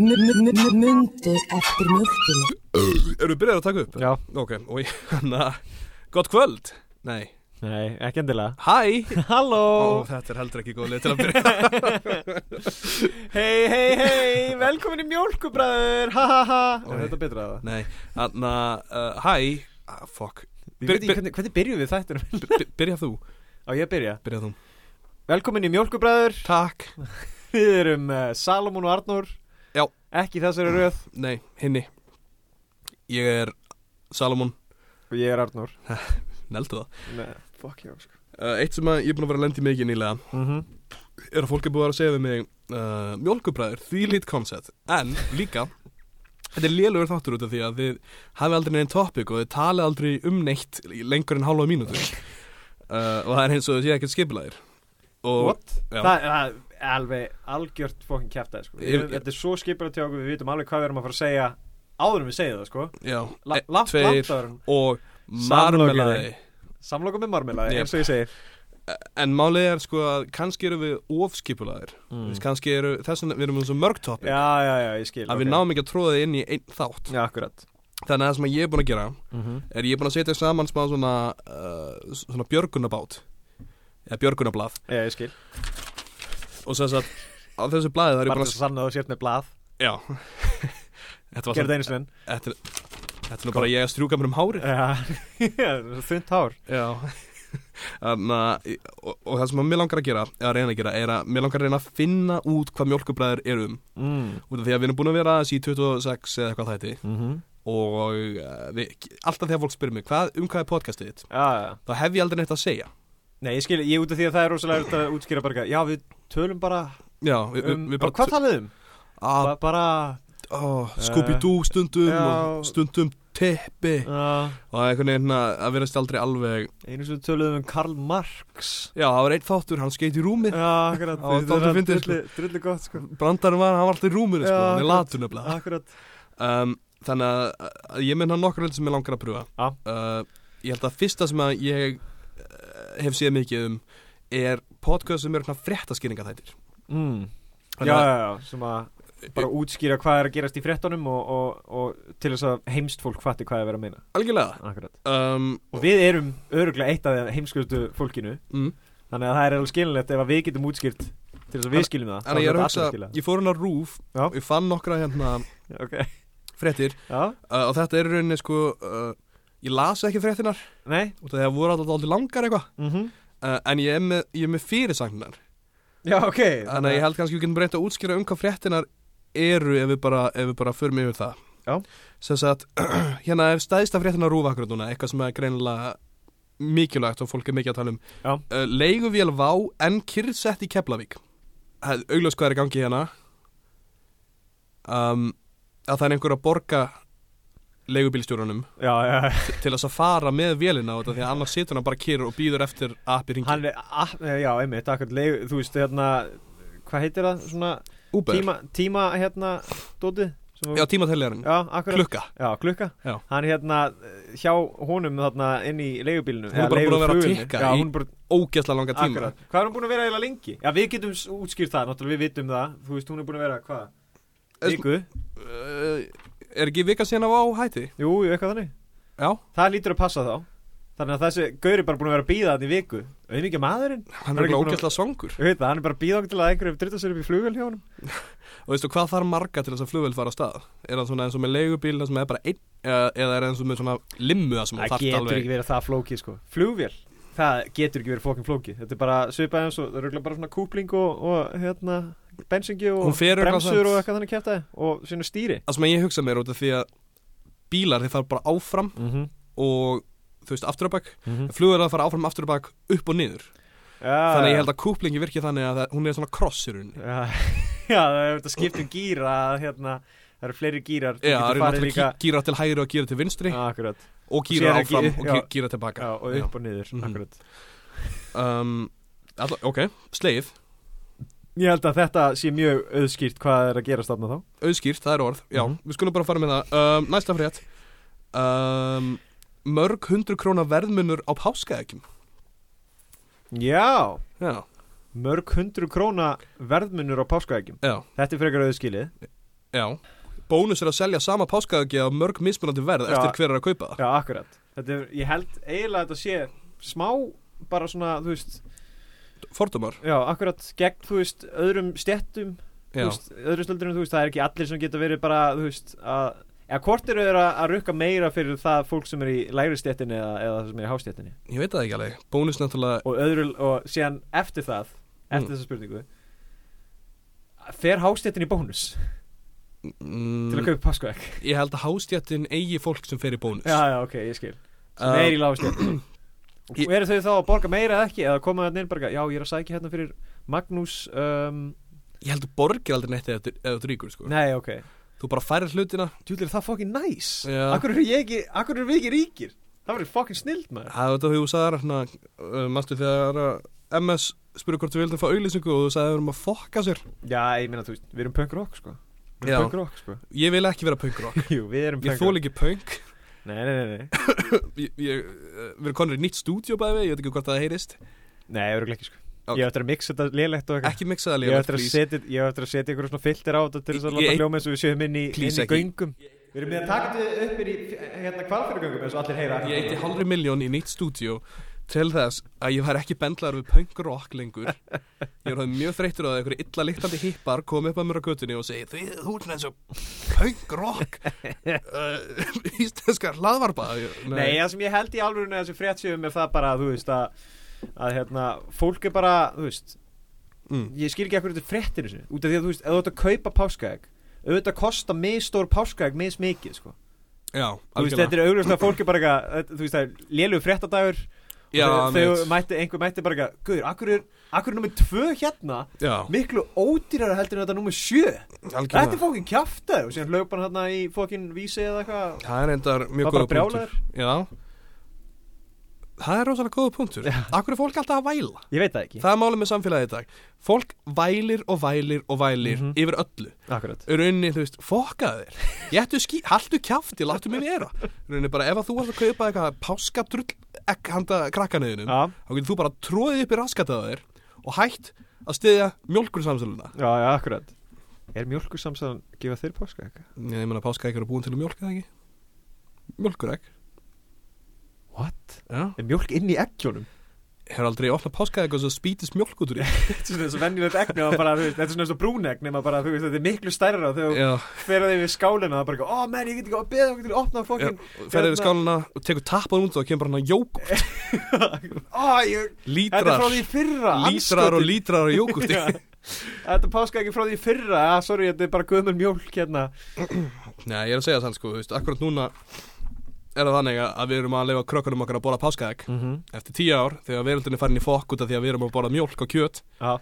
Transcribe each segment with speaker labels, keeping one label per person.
Speaker 1: Mundu eftir mjölkinu
Speaker 2: Eru þið byrjar að taka upp?
Speaker 3: Já,
Speaker 2: Ok, og ég, na, gott kvöld Nei,
Speaker 3: nei, ekki endilega
Speaker 2: hæ Ó,
Speaker 3: Halló,
Speaker 2: þetta er heldur ekki góð leið til að byrja
Speaker 3: hei, hei, hei, velkomin í mjólkubræður, ha ha ha
Speaker 2: Oj.
Speaker 3: Er þetta betra það?
Speaker 2: Nei, þarna, uh, hæ ah, Fuck,
Speaker 3: Ég
Speaker 2: Byr-
Speaker 3: veit ekki,
Speaker 2: byr-
Speaker 3: hvernig, hvernig byrjuð við þættinum?
Speaker 2: B- b- byrja þú,
Speaker 3: Á ég að byrja
Speaker 2: byrja þú
Speaker 3: Velkomin í mjólkubræður,
Speaker 2: Takk,
Speaker 3: við erum uh, Salomon og Arnór
Speaker 2: Já.
Speaker 3: Ekki í þessari röð
Speaker 2: nei, hinni Ég er Salomon,
Speaker 3: Og ég er Arnór
Speaker 2: neldu það
Speaker 3: Nei, fuck já, sko
Speaker 2: uh, Eitt sem að ég er búin að vera að lendi mikið nýlega
Speaker 3: mm
Speaker 2: er að fólk er búið að segja við mig uh, mjölkubræður, því lít koncept en líka þetta er lélugur þáttur út af því að þið hafið aldrei neinn topic og þið talið aldrei um neitt í lengur en hálfa mínútu uh, og það er eins og þið sé ekkert skipulæðir og
Speaker 3: What?
Speaker 2: Já.
Speaker 3: Það, það er alveg algjört fokkin kæftæði, sko
Speaker 2: Ég-
Speaker 3: Þetta er svo skipur að tjóku, við vitum alveg hvað við erum að fara að segja Áður en við segja það, sko
Speaker 2: já,
Speaker 3: La-
Speaker 2: einn,
Speaker 3: Langt,
Speaker 2: tveir
Speaker 3: langt áður en
Speaker 2: og
Speaker 3: Samlokaði.
Speaker 2: marmelaði
Speaker 3: Samloka með marmelaði,
Speaker 2: Yep.
Speaker 3: eins og ég segir
Speaker 2: en málið er sko að kannski eru við ofskipulæðir mm. kannski eru þess að við erum með svo mörg topic
Speaker 3: Já, já, já, ég skil
Speaker 2: að við náum ekki að tróða þið inn í einn þátt
Speaker 3: Já, akkurat
Speaker 2: þannig að það sem ég er búin að gera
Speaker 3: mm -hmm.
Speaker 2: er ég búinn að setja saman smá svona, uh, svona björgunabát eða björgunablað
Speaker 3: Já, ég skil
Speaker 2: og sem sagt á þessu blaði það er ég
Speaker 3: Bara
Speaker 2: búinn
Speaker 3: þess
Speaker 2: að
Speaker 3: að sanna að þú sért með blað
Speaker 2: já þetta var svona
Speaker 3: Gerð það einu sinni
Speaker 2: þetta, er- þetta er nú bara ég að strjúka mér um hári
Speaker 3: Já, þund hár
Speaker 2: já Anna, og, og það sem að mér langar að gera eða reyna að gera er að mér langar að reyna að finna út hvað mjölkubræður eru um
Speaker 3: mm.
Speaker 2: út af því að við erum búin að vera aðeins í 26 eða eitthvað þætti
Speaker 3: Mm -hmm.
Speaker 2: og uh, við, alltaf þegar fólk spyrir mig hvað, um hvað er podcastið þitt
Speaker 3: Já, já
Speaker 2: þá hef ég aldrei neitt að segja
Speaker 3: Nei, ég skil, ég út af því að það er rosalega erfitt að útskýra bara eitthvað, Já, við tölum bara
Speaker 2: já, við,
Speaker 3: um
Speaker 2: við Ah,
Speaker 3: bara, Hvað talaðum?
Speaker 2: að
Speaker 3: Ba bara
Speaker 2: oh, Scooby-Doo stundum
Speaker 3: Eh, Já.
Speaker 2: og stundum teppi
Speaker 3: uh,
Speaker 2: og það er einhvern veginn að það verðist aldrei alveg
Speaker 3: Einu sem við töluðum um Karl Marx
Speaker 2: já, það var einn þáttur, hann skeit í rúmið
Speaker 3: Já, akkurat
Speaker 2: Já, dálítið fyndið, sko.
Speaker 3: drulli, drulli gott, sko
Speaker 2: brandarinn var, hann var alltaf í rúminu sko,
Speaker 3: Já,
Speaker 2: hann er
Speaker 3: akkurat.
Speaker 2: latur nefnilega
Speaker 3: Akkurat
Speaker 2: um, þannig að, að ég menna nokkur hlut sem ég langar að pröfa
Speaker 3: Já.
Speaker 2: uh, ég held að fyrsta sem að ég uh, hef séð mikið um er podcast sem eru svona fréttaskýringa þættir
Speaker 3: mm. Já, já, já, sem að bara útskýra hvað er að gerast í fréttunum og, og, og til þess að heimst fólk fatti hvað er verið að meina
Speaker 2: algjörlega
Speaker 3: Akkurat
Speaker 2: um,
Speaker 3: Og við erum öruglega eitt af þeim heimskustu fólkinu
Speaker 2: mm,
Speaker 3: Þannig að það er alveg skilinlegt ef að við getum útskýrt til þess að við
Speaker 2: En-
Speaker 3: skiljum það
Speaker 2: þannig að ég er að hugsa ég fór hann á rúf
Speaker 3: Já.
Speaker 2: og ég fann nokkra hérna
Speaker 3: ég... Ok
Speaker 2: fréttir
Speaker 3: Já,
Speaker 2: uh, og þetta er í rauninni sko uh, ég las ekki fréttinar
Speaker 3: nei
Speaker 2: út af því að voru alltaf aldrei langar eitthvað
Speaker 3: mm
Speaker 2: uh, en ég er með, ég er með fyrirsagnar
Speaker 3: Já, ok
Speaker 2: þannig að ég held kannski við getum reynt að útskýra um hvað fréttinar eru ef við bara, ef við bara förum yfir það
Speaker 3: Já.
Speaker 2: sem sagt, hérna er staðista fréttina rúfa akkur núna, eitthvað sem er greinilega mikilvægt og fólk er mikið að tala um
Speaker 3: Já.
Speaker 2: uh, leiguvél vá en kyrrsett í Keflavík Það er augljóst hvað er í gangi hérna um, að það er einhver að borga leigubílstjórunum
Speaker 3: Já, já,
Speaker 2: til þess að fara með vélina á þetta því að annars situr hann bara kýr og býður eftir að appi ringi
Speaker 3: hann er, ah, já, einmitt, akkurat leið, Þú veist, hérna, hvað heitir það, svona
Speaker 2: Uber,
Speaker 3: Tíma, tíma, hérna, dótið sem
Speaker 2: já
Speaker 3: að-
Speaker 2: tímateljarinn,
Speaker 3: já, akkurat
Speaker 2: klukka
Speaker 3: Já, klukka
Speaker 2: Já.
Speaker 3: Hann hérna eh, hjá honum þarna inn í leigubílinu
Speaker 2: Hún er bara búin að vera að
Speaker 3: leiguflugvélinni.
Speaker 2: tikka
Speaker 3: Já,
Speaker 2: í-
Speaker 3: hún er bara
Speaker 2: ógeðslega langa tíma
Speaker 3: Akkurat, hvað er hún búin að vera eiginlega lengi? Já, við getum s- útskýrt það, náttúrulega við vitum það Þú veist, hún er búin að vera, hvað?
Speaker 2: Er-
Speaker 3: Viku?
Speaker 2: uh, Er ekki vika síðan að vá hætti?
Speaker 3: Jú, jú, eitthvað þannig
Speaker 2: Já,
Speaker 3: Það lítur að passa þá Þannig að þessi gaur er bara búin að vera að býða þannig í viku Auðvitað maðurinn?
Speaker 2: hann
Speaker 3: er
Speaker 2: er ekki
Speaker 3: ekki búin að-
Speaker 2: ógeðslega svangur
Speaker 3: Ég veit það, hann er bara að býða okkur til að einhverjum drita sér upp í flugvél hjá honum
Speaker 2: Og veistu hvað þarf marga til þess að flugvél fara á stað? Er það svona eins og með leigubíl það sem er bara einn eða, eða er það eins og með svona limmu það sem
Speaker 3: Það
Speaker 2: þarf
Speaker 3: getur
Speaker 2: alveg
Speaker 3: ekki verið það flókið, sko Flugvél, það getur ekki verið fókin flókið Þetta er bara svipað eins og, það er örugglega bara svona kúpling og, og hérna, bensingi
Speaker 2: Hún
Speaker 3: og
Speaker 2: fer örugglega samt.
Speaker 3: bremsur og eitthvað þannig kjæftæði og sinna stýri
Speaker 2: Það sem ég hugsa mér út af því að bílar þeir fara bara áfram
Speaker 3: mm -hmm.
Speaker 2: og þú veist aftur á bak
Speaker 3: Mhm.
Speaker 2: en flugvélar fara áfram aftur á bak upp og niður Þannig að ég held að kúplingi virki þannig að það- hún er svona kross í rauninni
Speaker 3: Já, já það er þetta skipt um gýra hérna, það eru fleiri gýrar
Speaker 2: Já, það
Speaker 3: þú getur
Speaker 2: eru
Speaker 3: farið
Speaker 2: náttúrulega gí- gíra til hægri og gíra til vinstri
Speaker 3: Já, akkurat,
Speaker 2: og
Speaker 3: síðan
Speaker 2: gíra
Speaker 3: er
Speaker 2: áfram
Speaker 3: gí-
Speaker 2: og
Speaker 3: já.
Speaker 2: gí- gíra tilbaka
Speaker 3: já, og upp og niður
Speaker 2: Mhm.
Speaker 3: akkurat.
Speaker 2: um, alla, Ok, sleið,
Speaker 3: Ég held að þetta sé mjög auðskýrt hvað er að gera stafna þá
Speaker 2: auðskýrt, það er orð Já,
Speaker 3: Mhm.
Speaker 2: við skulum bara fara með það um, Næsta frétt um, Mörg hundru króna verðmunur á páskaegjum
Speaker 3: Já,
Speaker 2: Já,
Speaker 3: mörg hundru króna verðmunur á páskaeggjum
Speaker 2: já,
Speaker 3: Þetta er frekar auðskýlið
Speaker 2: já Bónus er að selja sama páskaeggi á mörg mismunandi verð
Speaker 3: Já.
Speaker 2: eftir hver er að kaupa það
Speaker 3: Já, akkurat Þetta er, ég held eiginlega að þetta sé smá bara svona, þú veist,
Speaker 2: Fordómar,
Speaker 3: já, akkurat gegn, þú veist, öðrum stjettum, þú
Speaker 2: já,
Speaker 3: veist, öðrum stöldunum, þú veist, það er ekki allir sem geta verið bara, þú veist, að eða hvort eru þeir að, að rukka meira fyrir það fólk sem er í lægri stjettinni eða, eða það sem er í hástjettinni
Speaker 2: ég veit það ekki alveg Bónus náttúrulega,
Speaker 3: og öðru, og síðan eftir það eftir
Speaker 2: Mm.
Speaker 3: þessa spurningu fer hástjettin í bónus til að
Speaker 2: mm,
Speaker 3: kaupa páskaegg
Speaker 2: ég held að hástjættin eigi fólk sem fer í bónus
Speaker 3: Já, já, ok, ég skil sem
Speaker 2: Uh,
Speaker 3: er í lágstjættinni
Speaker 2: Ég-
Speaker 3: og eru þau þá að borga meira eða ekki eða koma þarna inn bara, já, ég er að sækja hérna fyrir Magnús um,
Speaker 2: Ég held að þú borgir aldrei neitt eða eða þú ríkur sko.
Speaker 3: nei, ok,
Speaker 2: Þú bara færir hlutina
Speaker 3: djúlir það fokkin næs
Speaker 2: Já.
Speaker 3: akkur eru ég ekki, akkur eru við ekki ríkir það verður fokkin snild maður
Speaker 2: Það var þetta þegar þú sagðir hérna, uh, Mastu þegar uh, MS spurði hvort þú vildum fá auðlýsingu og þú sagði að við erum að fokka sér
Speaker 3: já, ég meina, þú veist, við erum punk rock, sko við
Speaker 2: Já.
Speaker 3: erum punk rock, sko
Speaker 2: Ég vil ekki vera punkrock
Speaker 3: jú, við erum
Speaker 2: Ég
Speaker 3: punk
Speaker 2: þól ekki punk
Speaker 3: rock nei, nei, nei, nei,
Speaker 2: ég, ég, uh, Við erum konur í nýtt stúdíó bæði Ég veit ekki hvort það heyrist
Speaker 3: nei, örugglega ekki, sko
Speaker 2: Ok.
Speaker 3: ég á eftir að mixa þetta lélegt og eitthvað
Speaker 2: Ekki miksaða
Speaker 3: ég á
Speaker 2: líka
Speaker 3: eftir að
Speaker 2: please.
Speaker 3: setja, ég á eftir að setja ykkur svona filter á þetta til þess
Speaker 2: Ég-
Speaker 3: að láta
Speaker 2: ég-
Speaker 3: hljóma eins og við séum inn í,
Speaker 2: Please,
Speaker 3: inn í
Speaker 2: ekki.
Speaker 3: göngum við erum með að taka þetta upp í hérna kvalfyrirgöngum eins og allir heyra
Speaker 2: Ég eitti halvri miljón í nýtt stúdíó Til þess að ég var ekki bendlar við punkrock lengur Ég var það mjög þreyttur á það Einhverju illa lyktandi hippar kom upp að mér á götunni Og segi því þú ert eins og punkrock uh, Íslenskar hlaðvarpa Ég-
Speaker 3: Nei, það sem ég held í alvörinu að þessu fréttsjöfum er það bara, þú veist, að, að hérna, fólk er bara, þú veist,
Speaker 2: mm.
Speaker 3: ég skil ekki ekkur þetta er fréttir þessu, út af því að þú veist, ef þú ert að kaupa páskaegg, auðvitað kosta misstór páskaegg mis mikið, sko.
Speaker 2: Já,
Speaker 3: Þú veist, þetta er augljóslega að fólk er bara eitthvað, þetta- þú veist, það er lélugu fréttadagur,
Speaker 2: Já,
Speaker 3: og þau- þau
Speaker 2: einmitt.
Speaker 3: mætti, einhver mætti bara eitthvað, guður, akkur er, akkur er nummið tvö hérna,
Speaker 2: Já,
Speaker 3: miklu ódýrara heldur en þetta nummið sjö. Þetta er
Speaker 2: algjörlega
Speaker 3: fókin kjaftaður, og síðan hlaupan hérna í fókin vísi eða eitthvað.
Speaker 2: Það er endar mjög
Speaker 3: Var bara
Speaker 2: góða punktur Já Það er rosalega góða punktur Akkur er fólk alltaf að væla
Speaker 3: Ég veit það ekki.
Speaker 2: Það er málið með samfélagið í dag Fólk vælir og vælir og vælir
Speaker 3: Mhm.
Speaker 2: yfir öllu
Speaker 3: Akkurat.
Speaker 2: rauninni, þú veist, fokkaðu þér Gettu ský, haltu kjafti, láttu mig vera rauninni bara, ef að þú varst að kaupa eitthvað páskadrull ekk handa krakkaneðinum
Speaker 3: Já,
Speaker 2: þá getur þú bara tróðið upp í raskataðu þér og hætt að styðja mjólkursamsöluna
Speaker 3: Já, já, akkurat Er mjölkursamsaðan gefa þeir páska eitthvað?
Speaker 2: ég meina páskaegg eru búin til að mjólka það ekki mjólkuregg
Speaker 3: What?
Speaker 2: já
Speaker 3: Er mjölk inn í eggjónum?
Speaker 2: hefur aldrei opnað páskaegg og svo spýtist mjólk út úr í
Speaker 3: þetta er svona eins og venjulegt egg nema bara, þú veist, þetta er svona eins og brúnegg nema bara, þú veist, þetta er miklu stærra þegar þú
Speaker 2: já
Speaker 3: fer að þeir við skálina og það er bara, eitthvað, ó oh, menn, ég get ekki að beða okkur til að opna fokkin
Speaker 2: ferðir í
Speaker 3: Hérna-
Speaker 2: skáluna og tekur tappan út og kemur bara hana jógurt
Speaker 3: Ó, ég, þetta er
Speaker 2: lítrar
Speaker 3: frá því í fyrra
Speaker 2: lítrar og
Speaker 3: andskotinn.
Speaker 2: lítrar og jógurti
Speaker 3: Já. Þetta er páska ekki frá því í fyrra, að sorry, þetta er bara gömur mjólk hérna
Speaker 2: Nei, ég er að segja þann sko, þú veist, akkurat núna er það þannig að- að við erum að leifa krökkunum okkar að bóla páskaegg
Speaker 3: mm -hmm.
Speaker 2: eftir tíu ár, þegar veröldin er farin í fokk út af því að við erum að bóla mjólk og kjöt
Speaker 3: Já,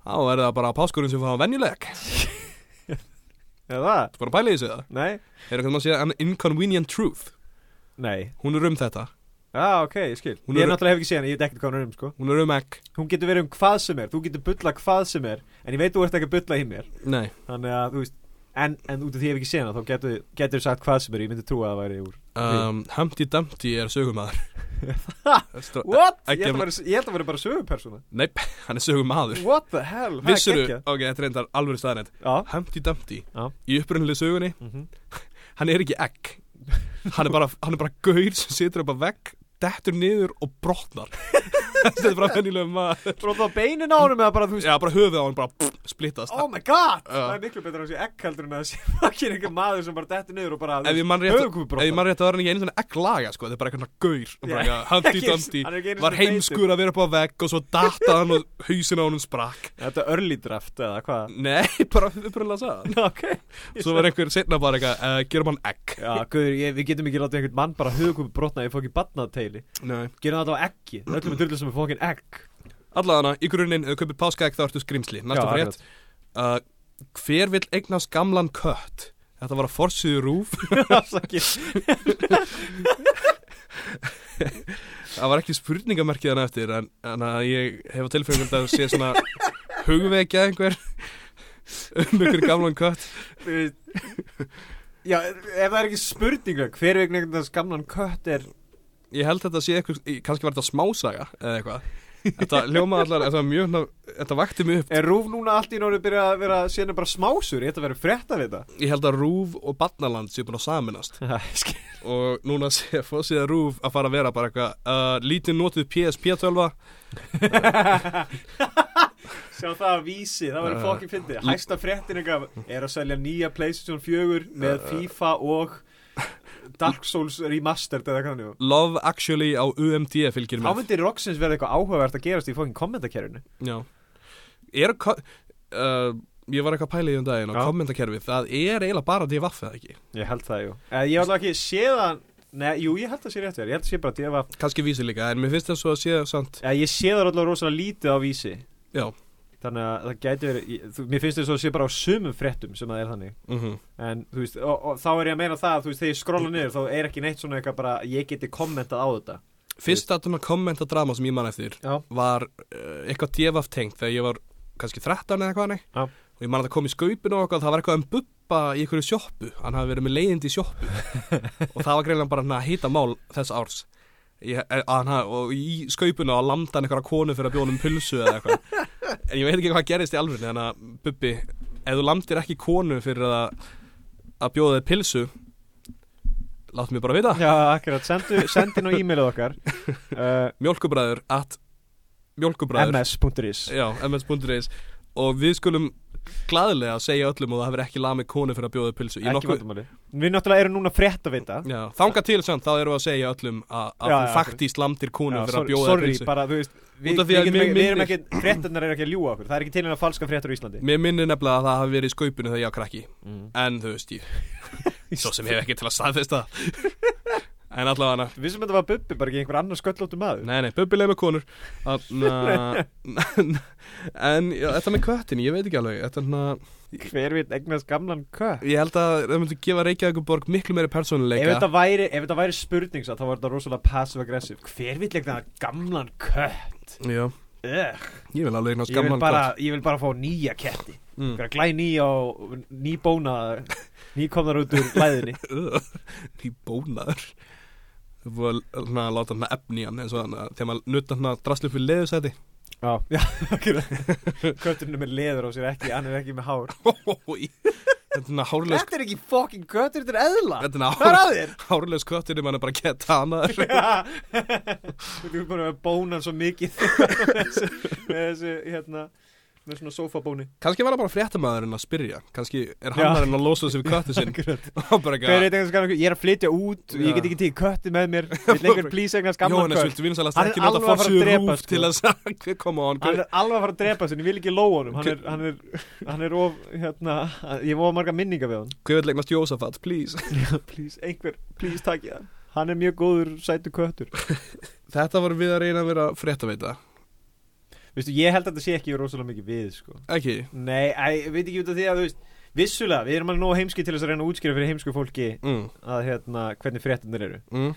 Speaker 2: þá er það bara páskurinn sem fá venjuleg
Speaker 3: er það?
Speaker 2: bara pælið þessu það
Speaker 3: Nei?
Speaker 2: er eitthvað maður að segja an inconvenient truth
Speaker 3: Nei
Speaker 2: hún er um þetta,
Speaker 3: Já, ok, ég skil
Speaker 2: Hún
Speaker 3: Ég
Speaker 2: er-
Speaker 3: náttúrulega hef ekki séð hann, ég veit ekkert hvað hann er um, sko
Speaker 2: hún er um egg
Speaker 3: hún getur verið um hvað sem er, þú getur bulla hvað sem er en ég veit þú ert ekki að bulla í mér
Speaker 2: nei,
Speaker 3: þannig að þú veist, en, en út af því ég hef ekki séð hana þá getur, getur sagt hvað sem er, ég myndi trúa að það væri úr
Speaker 2: um, Humpty Dumpty er sögumadur
Speaker 3: What?
Speaker 2: Ekki að-
Speaker 3: Ég held að vera, ég held að vera bara sögupersona
Speaker 2: nei, hann er sögumadur
Speaker 3: What the hell, það er
Speaker 2: vissuru,
Speaker 3: gekkja
Speaker 2: ok, þetta er reyndar alveg staðrænt
Speaker 3: Já,
Speaker 2: Humpty Dumpty,
Speaker 3: Já.
Speaker 2: í upprunnileg sögunni
Speaker 3: mhm,
Speaker 2: hann er ekki egg hann er bara, hann er bara gaur sem situr upp að vegg dettur niður og brotnar þetta er bara venjulega maður
Speaker 3: Bróð þá beinin á honum eða bara þú veist
Speaker 2: já, bara höfuð á hann bara pff, splittast
Speaker 3: Oh my god,
Speaker 2: Já.
Speaker 3: það er miklu betur að sé egg heldur en að sé fucking einhver maður sem bara dettur niður og bara
Speaker 2: ef ég mann rétt ef ég
Speaker 3: höfukúpubrotnar
Speaker 2: mann rétt að það var hann ekki einu svona egg laga sko, þetta er bara eitthvað svona gaur og bara
Speaker 3: Já.
Speaker 2: eitthvað humpty dumpty var heimskur að vera upp á vegg og svo datta hann og hausin á hann sprakk
Speaker 3: Þetta er early draft eða hvað
Speaker 2: nei, bara upprunnilega sagði hann.
Speaker 3: Ok
Speaker 2: svo var einhver setna bara eitthvað uh, gerum hann egg
Speaker 3: Já, guður, ég, við getum ekki látið einhvern mann bara höfukúpi brotna, ég fók í batnaðteili
Speaker 2: nei
Speaker 3: Gerum það þá ekki, öllum er drullið sem er fókin egg
Speaker 2: Allavega, í grunninn, ef þú kaupir páskaegg þá ertu skrimsli Næsta
Speaker 3: Já,
Speaker 2: frétt uh, Hver vill eignast gamlan kött? Þetta var að forsiðu rúf
Speaker 3: Afsakið.
Speaker 2: Það var ekki spurningamerkið hann eftir En, en að ég hef á tilfengum að sé svona Hugvekja einhver Um ykkur gamlan kött
Speaker 3: Þú veist, Já, ef það er ekki spurninga Hver vegna einhvern veginn skamlan kött er
Speaker 2: Ég held þetta sé eitthvað Kannski var þetta smásaga eða eitthvað Þetta hljóma allar, þetta var mjög svona- Þetta vakti mig upp
Speaker 3: Er Rúf núna allt í norðu byrja að vera Sérna bara smásur, ég ætla að vera frétta við
Speaker 2: Ég held að Rúf og Barnaland sé búin að saminast
Speaker 3: það
Speaker 2: og núna sé fórsíða rúf að fara að vera bara eitthvað uh, lítið notuð PSP 12
Speaker 3: Sjá það að vísi, það var
Speaker 2: Uh,
Speaker 3: fokkin fyndið Hæsta fréttin eitthvað er að selja nýja Playstation 4 með FIFA og Dark Souls Remastered eða hvað þannig
Speaker 2: Love Actually á UMD E fylgir
Speaker 3: Þá
Speaker 2: með
Speaker 3: myndi Roxins verða eitthvað áhugavert að gerast í fokkin kommentakerfinu
Speaker 2: Já Er ko- uh, Ég var eitthvað að pæla í um daginn á
Speaker 3: Já.
Speaker 2: kommentakerfið það er eiginlega bara DVF eða ekki
Speaker 3: Ég held það, jú Eh, Ég held ekki séðan Nei, jú, ég held það sé rétt verið, ég held það sé bara djöfa
Speaker 2: kannski vísi líka en mér finnst það svo að sé samt
Speaker 3: Já, ég sé það allavega rosalega lítið á vísi
Speaker 2: Já
Speaker 3: Þannig að það gæti verið ég- þú- Mér finnst þess að það sé bara á sumum fréttum sem það er þannig
Speaker 2: mm
Speaker 3: En þú veist, og, og þá er ég að meina það að, Þú veist, þegar ég skrolla niður þá er ekki neitt svona eitthvað bara Ég geti kommentað á þetta
Speaker 2: Fyrsta svona kommentadrama sem ég man eftir
Speaker 3: Já.
Speaker 2: var uh, eitthvað DVF tengt þegar ég var kannski 13 eða hvað nei
Speaker 3: Já.
Speaker 2: og ég man að það kom í skaupinu og eitthvað það var eitthvað um bubba í einhverju sjoppu hann hafði verið með leiðindi í sjoppu og það var greinlega bara að hýta mál þess árs ég, eh, að hann, hafði- og í skaupinu og landa hann einhverja konu fyrir að bjóða um pulsu eða eitthvað en ég veit ekki hvað gerist í alveg þannig að bubbi ef þú landir ekki konu fyrir að, að bjóða þig pilsu láttu mig bara vita
Speaker 3: Já, akkurat, sendu, sendi nú e-mailið okkar uh,
Speaker 2: mjölkubræður at mjölkubræður
Speaker 3: ms.is
Speaker 2: já, ms.is og við skulum glaðilega segja öllum og það hefur ekki lamið konu fyrir að bjóða upp pilsu Í
Speaker 3: Ekki
Speaker 2: nokkuð-
Speaker 3: vandamáli Við náttúrulega erum núna frétt að vita
Speaker 2: já, þanga til samt, þá erum við að segja öllum að, að
Speaker 3: Já,
Speaker 2: þú
Speaker 3: já,
Speaker 2: faktíst lamdir konu
Speaker 3: Já,
Speaker 2: fyrir að
Speaker 3: sorry,
Speaker 2: bjóða upp
Speaker 3: sorry
Speaker 2: pilsu
Speaker 3: bara, þú veist Við,
Speaker 2: Út af því
Speaker 3: við,
Speaker 2: að
Speaker 3: getum
Speaker 2: mér
Speaker 3: ekki- við erum
Speaker 2: minnir-
Speaker 3: ekki, fréttarnar eru ekki að ljúa okkur Það er ekki til en að falska fréttur á Íslandi
Speaker 2: mér minnir nefnilega að það hafi verið í skaupinu þegar ég á krakki
Speaker 3: mm.
Speaker 2: en þú veist ég svo sem hef ekki til að staðfesta það. en allavega hana
Speaker 3: Við sem um þetta var bubbi, bara ekki einhver annar sköllóttu maður
Speaker 2: Nei, nei, bubbileg með konur Þarna, En já, þetta með köttin, ég veit ekki alveg Þetta er svona
Speaker 3: Hver veit eignast gamlan kött
Speaker 2: Ég held að það myndi gefa Reykjavík borg miklu meiri persónuleika
Speaker 3: Ef þetta væri, ef þetta væri spurning satt, þá var þetta rosalega passive-aggressive Hver vil leikna gamlan kött?
Speaker 2: Já,
Speaker 3: Ugh,
Speaker 2: ég vil alveg eignast
Speaker 3: ég, vil
Speaker 2: gamlan
Speaker 3: bara, ég vil bara fá nýja ketti
Speaker 2: mm.
Speaker 3: Einhverja glæ nýja og ný bóna Ný komnar út úr læðinni
Speaker 2: Ugh, Ný bónaður Það er búið að svona, láta hann efni í hann eins og hann að- þegar maður nutta hann að drasla upp við leðusæti
Speaker 3: Já, já Kötturinn er með leður á sér ekki, hann er ekki með hár
Speaker 2: Þetta er svona hárlaus
Speaker 3: Þetta er ekki fucking köttur, þetta er eðla
Speaker 2: Þetta er svona
Speaker 3: Hvað
Speaker 2: hár,
Speaker 3: er að þér?
Speaker 2: hárlaus köttur þegar maður er bara að geta hanaður
Speaker 3: Þú erum bara með bónan svo mikið með þessu, með þessu, hérna með svona sofabóni
Speaker 2: Kannski var það bara fréttamaðurinn að spyrja Kannski er
Speaker 3: Já.
Speaker 2: hannarinn að losa sig við köttu sinn
Speaker 3: Akkurat
Speaker 2: Og bara eitthvað
Speaker 3: Hver veit eitthvað skamlan kött? Ég er að flytja út og
Speaker 2: Já.
Speaker 3: ég get ekki tekið kötti með mér Vill einhver please eignast skamlan
Speaker 2: Jóhannes,
Speaker 3: kött
Speaker 2: viltu vinsalast
Speaker 3: Hann er
Speaker 2: ekki láta
Speaker 3: alveg að fara að
Speaker 2: forsíðu
Speaker 3: drepa,
Speaker 2: rúf
Speaker 3: sko.
Speaker 2: til þess að koma á hann
Speaker 3: Hann er alveg að fara að drepa sinni, ég vil ekki lóa honum Hann er,
Speaker 2: Hver-
Speaker 3: hann er, hann er of, hérna Ég hef of marga minninga við hann
Speaker 2: Hver vil leiknast Jósafat, please
Speaker 3: Please, einhver, please takk ég hann Hann er mjög góður, sætu köttur
Speaker 2: Þetta var við að reyna að vera fréttaveita
Speaker 3: Veistu, ég held að þetta sé ekki rosalega mikið við, sko
Speaker 2: Ekki,
Speaker 3: Nei, æ, ég veit ekki út af því að, þú veist Vissulega, við erum alveg nógu heimski til þess að reyna að útskýra fyrir heimsku fólki
Speaker 2: mm,
Speaker 3: að, hérna, hvernig fréttinir eru
Speaker 2: mm.